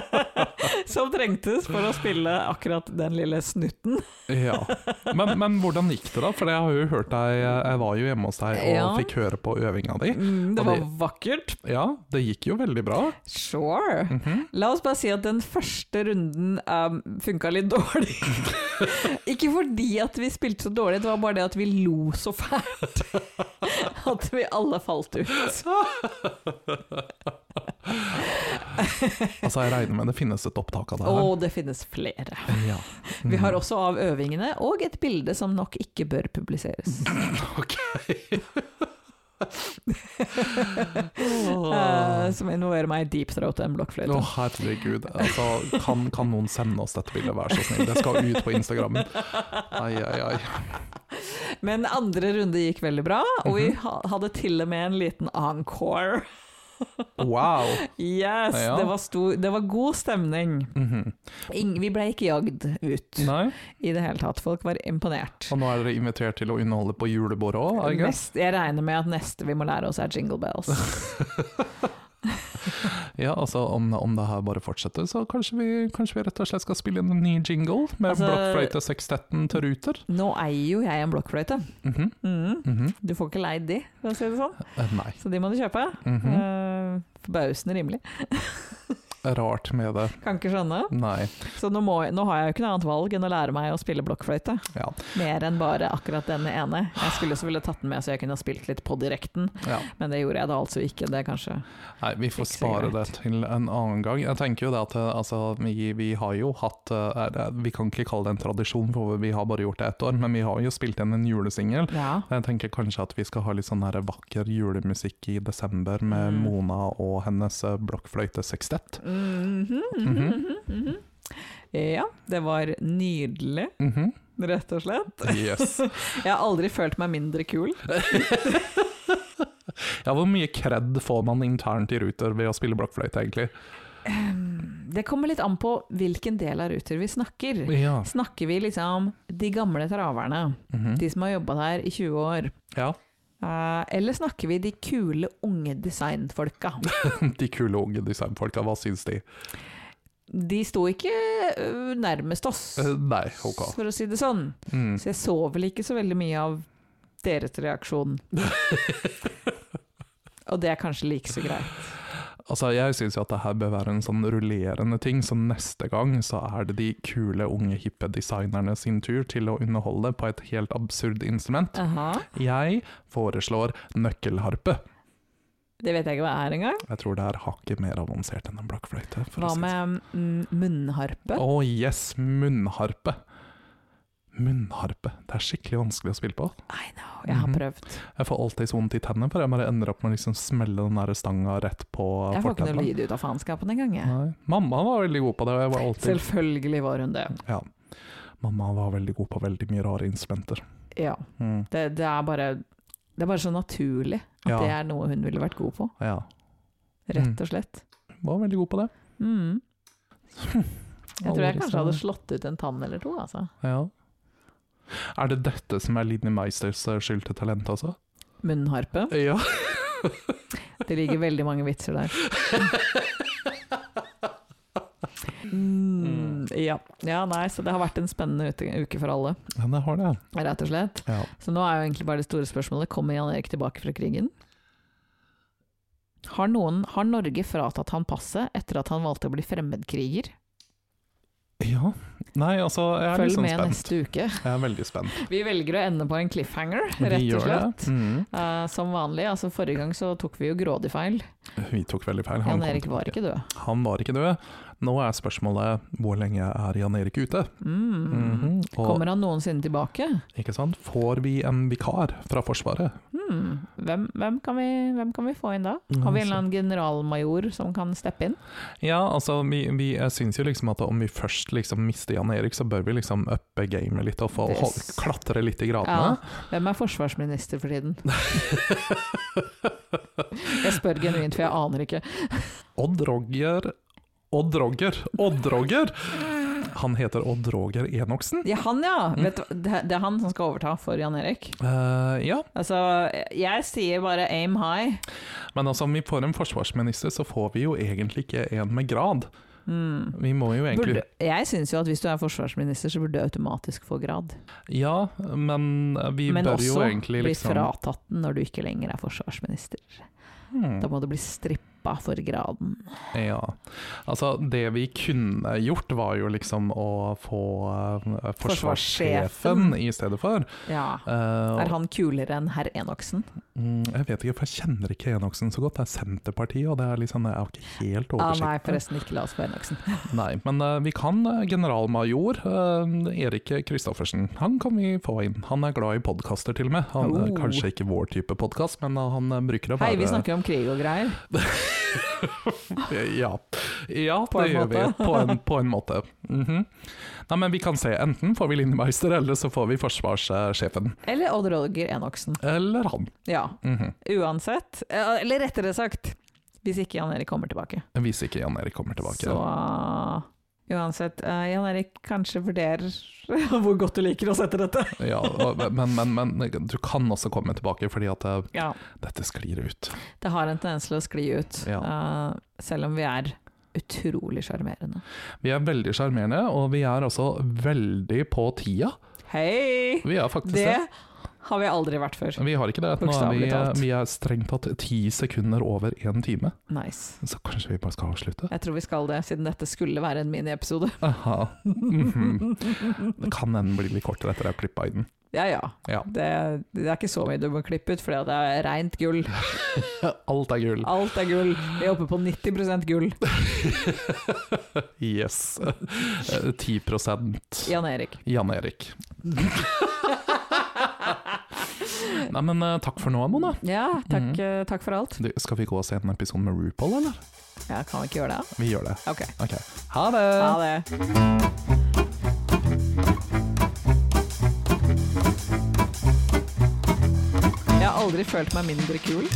B: som trengtes for å spille akkurat den lille snutten.
C: ja. Men, men hvordan gikk det, da? For jeg har jo hørt deg Jeg var jo hjemme hos deg og
B: Ja.
C: fikk høre på øvinga di.
B: Det
C: Mm, Og
B: var
C: det-
B: vakkert.
C: Ja, det gikk jo veldig bra.
B: Sure.
C: Mhm.
B: La oss bare si at den første runden um, funka litt dårlig. Ikke fordi at vi spilte så dårlig, det var bare det at vi lo så fælt at vi alle falt ut.
C: Altså, jeg regner med det finnes et opptak av det her.
B: Og det finnes flere.
C: Ja.
B: Vi
C: Mm.
B: har også av øvingene og et bilde som nok ikke bør publiseres.
C: Ok.
B: Eh, som involverer meg i deep throat og en blokkfløyte.
C: Å, herregud. Altså, kan, kan noen sende oss dette bildet, vær så snill? Det skal ut på Instagram. Ai, ai, ai.
B: Men andre runde gikk veldig bra, og vi ha- hadde til og med en liten encore.
C: Wow.
B: Yes!
C: Ja.
B: Det, var stor, det var god stemning.
C: Mhm.
B: Ing- vi ble ikke jagd ut
C: Nei,
B: i det hele tatt. Folk var imponert.
C: og nå er dere invitert til å underholde på julebordet òg, I guess?
B: Neste, jeg regner med at neste vi må lære oss er jingle bells.
C: Ja, altså, om, om det her bare fortsetter, så kanskje vi, kanskje vi rett og slett skal spille inn en ny jingle med
B: Altså-
C: blokkfløyte-sekstetten til Ruter?
B: Nå eier jo jeg en blokkfløyte.
C: Mhm,
B: Mhm.
C: mhm.
B: Du får ikke leid de, for å si det sånn.
C: Eh, Nei.
B: Så de må du kjøpe.
C: Mhm.
B: Eh, forbausende rimelig.
C: rart med det.
B: Kan ikke skjønne.
C: Nei.
B: Så nå, må, jeg- nå har jeg jo ikke noe annet valg enn å lære meg å spille blokkfløyte.
C: Ja.
B: Mer enn bare akkurat denne ene. Jeg skulle selvfølgelig tatt den med så jeg kunne ha spilt litt på direkten,
C: ja.
B: men det gjorde jeg da altså ikke. Det er kanskje
C: Nei, vi får
B: Ikke så
C: spare det
B: greit.
C: til en annen gang. Jeg tenker jo det at eh, altså, vi, vi har jo hatt eh, er det- Vi kan ikke kalle det en tradisjon, for vi har bare gjort det ett år, men vi har jo spilt inn en julesingel.
B: Ja.
C: Jeg tenker kanskje at vi skal ha litt sånn her vakker julemusikk i desember med
B: Mm.
C: Mona og hennes eh, blokkfløytesekstett.
B: Mhm, mhm,
C: Mhm.
B: mhm, mhm. Ja, det var nydelig,
C: Mhm.
B: rett og slett.
C: Yes.
B: Jeg har aldri følt meg mindre kul.
C: Ja, hvor mye kred får man internt i Ruter ved å spille blokkfløyte, egentlig?
B: Det kommer litt an på hvilken del av Ruter vi snakker.
C: Ja.
B: Snakker vi liksom de gamle traverne,
C: Mhm.
B: de som har jobba der i 20 år?
C: ja.
B: Eh, eller snakker vi de kule unge designfolka?
C: De kule unge designfolka, hva syns de?
B: De sto ikke ø, nærmest oss,
C: Eh, nei, ok.
B: for å si det sånn.
C: Mm.
B: Så jeg så vel ikke så veldig mye av deres reaksjon. Og det er kanskje like så greit.
C: Altså, jeg syns jo at det her bør være en sånn rullerende ting, så neste gang så er det de kule, unge, hippe designerne sin tur til å underholde på et helt absurd instrument.
B: Aha.
C: Jeg foreslår nøkkelharpe.
B: Det vet jeg ikke hva er engang.
C: Jeg tror det er hakket mer avansert enn en blokkfløyte. for å
B: Hva
C: si det
B: med mm, munnharpe?
C: sånn. Å yes, munnharpe. Munnharpe. Det er skikkelig vanskelig å spille på.
B: I know, jeg har
C: Mhm.
B: prøvd.
C: Jeg får alltid så vondt i tennene, for jeg bare ender opp med å liksom smelle den der stanga rett på
B: Jeg får ikke noe
C: fortennene.
B: lyd ut av faenskapen engang. jeg.
C: Nei. Mamma var veldig god på det, og jeg var alltid
B: Selvfølgelig var hun det.
C: Ja. Mamma var veldig god på veldig mye rare instrumenter.
B: Ja.
C: Mm.
B: Det, det, er bare, det er bare så naturlig at
C: Ja. Mm.
B: det er noe hun ville vært god på,
C: Ja,
B: rett og slett.
C: var veldig god på det.
B: Mm. Jeg tror jeg
C: Aldri
B: kanskje
C: så-
B: hadde slått ut en tann eller to, altså.
C: Ja. Er det dette som er Linni Meisters eh, skyld til talent, altså?
B: Munnharpe.
C: Ja.
B: Det ligger veldig mange vitser der. Mm, ja. ja, nei, så det har vært en spennende ute- uke for alle,
C: ja det har det.
B: rett og slett.
C: Ja.
B: Så nå er jo egentlig bare det store spørsmålet, kommer Jan Erik tilbake fra krigen? Har, noen, har Norge fratatt han passet etter at han valgte å bli fremmedkriger?
C: ja. Nei, altså, jeg er litt
B: Følg
C: sånn
B: med
C: spent.
B: neste uke.
C: Jeg er veldig spent.
B: Vi velger å ende på en cliffhanger,
C: Vi
B: rett og
C: gjør det.
B: slett.
C: Mm.
B: Eh, som vanlig, altså forrige gang så tok vi jo grådig feil.
C: Vi tok veldig feil.
B: Jan
C: kom
B: Erik
C: tilbake.
B: var ikke død.
C: Han var ikke død. Nå er spørsmålet hvor lenge er Jan Erik ute?
B: Mm.
C: Mhm. Og
B: Kommer han noensinne tilbake?
C: ikke sant? får vi en vikar fra Forsvaret?
B: Hmm. Hvem, hvem, kan vi, hvem kan vi få inn da? Har vi en eller annen generalmajor som kan steppe inn?
C: Ja, altså, vi, vi, jeg syns jo liksom at om vi først liksom mister Jan Erik, så bør vi liksom uppe gamet litt og få
B: Det
C: hold,
B: s-
C: klatre litt i
B: Ja.
C: gradene.
B: Hvem er forsvarsminister for tiden? Jeg spør genuint, for jeg aner ikke.
C: Odd Roger Odd Roger! Odd Roger! Han heter Odd Roger Enoksen.
B: Ja, han ja! Vet du, hva? det, det er han som skal overta for Jan Erik.
C: Eh, ja,
B: Altså, jeg sier bare aim high.
C: men altså om vi får en forsvarsminister, så får vi jo egentlig ikke en med grad.
B: Hmm.
C: Vi må jo egentlig
B: Burde, jeg syns jo at hvis du er forsvarsminister, så burde du automatisk få grad.
C: Ja, men vi
B: Men
C: bør jo
B: også
C: egentlig
B: bli
C: liksom
B: fratatt den når du ikke lenger er forsvarsminister.
C: Hmm.
B: Da må du bli strippa for graden.
C: Ja. Altså, det vi kunne gjort, var jo liksom å få eh, forsvarssjefen
B: Forsvarssjefen.
C: i stedet for.
B: Ja.
C: Eh,
B: Er han kulere enn herr Enoksen?
C: mm, jeg vet ikke, for jeg kjenner ikke Enoksen så godt. Det er Senterpartiet, og det er liksom, jeg har ikke helt
B: Ah,
C: oversikt.
B: nei, forresten, ikke la oss på Enoksen.
C: Nei, men eh, vi kan eh, generalmajor eh, Erik Kristoffersen. Han kan vi få inn. Han er glad i podkaster, til og med. Han, eh,
B: Oh.
C: Kanskje ikke vår type podkast, men eh, han eh, bruker å
B: Hei,
C: være
B: vi snakker om krig og greier.
C: Ja, ja
B: På
C: det
B: en
C: gjør vi.
B: måte.
C: På en, på en måte. Mhm. Nei, men vi kan se. Enten får vi Lindemeister, eller så får vi forsvarssjefen.
B: Eller Odd Roger Enoksen.
C: Eller han.
B: Ja,
C: Mhm.
B: uansett. Eh, Eller rettere sagt, hvis ikke Jan Erik kommer tilbake.
C: Hvis ikke Jan Erik kommer tilbake.
B: Så uansett, eh, Jan Erik kanskje vurderer hvor godt du liker å sette dette.
C: Ja, og- men, men, men du kan også komme tilbake, fordi at eh,
B: Ja,
C: dette sklir ut.
B: det har en tendens til å skli ut, eh, selv om vi er utrolig sjarmerende.
C: Vi er veldig sjarmerende, og vi er også veldig altså på tida.
B: Hei!
C: Vi er faktisk det.
B: Det har vi aldri vært før.
C: Vi har ikke det. Nå er vi, eh,
B: Bokstavelig talt.
C: vi er strengt tatt ti sekunder over én time,
B: Nice.
C: så kanskje vi bare skal avslutte?
B: Jeg tror vi skal det, siden dette skulle være en miniepisode.
C: Aha. Mhm. Det kan hende bli litt kortere etter at jeg har klippa i den.
B: Ja ja.
C: Ja.
B: Det, det er ikke så mye du må klippe ut, for det er reint gull.
C: Alt er gull.
B: Alt er gull. Vi er oppe på 90 gull.
C: Yes. Eh, 10
B: Jan Erik.
C: Jan Erik. Nei, men eh, takk for nå, Mona.
B: Ja, takk,
C: Mhm.
B: eh, takk for alt.
C: Du, skal vi gå og se en episode med RuPaul, eller?
B: Ja, kan vi ikke gjøre det?
C: Vi gjør det.
B: Ok.
C: Ok. Ha det!
B: Ha det. Jeg har aldri følt meg mindre kul.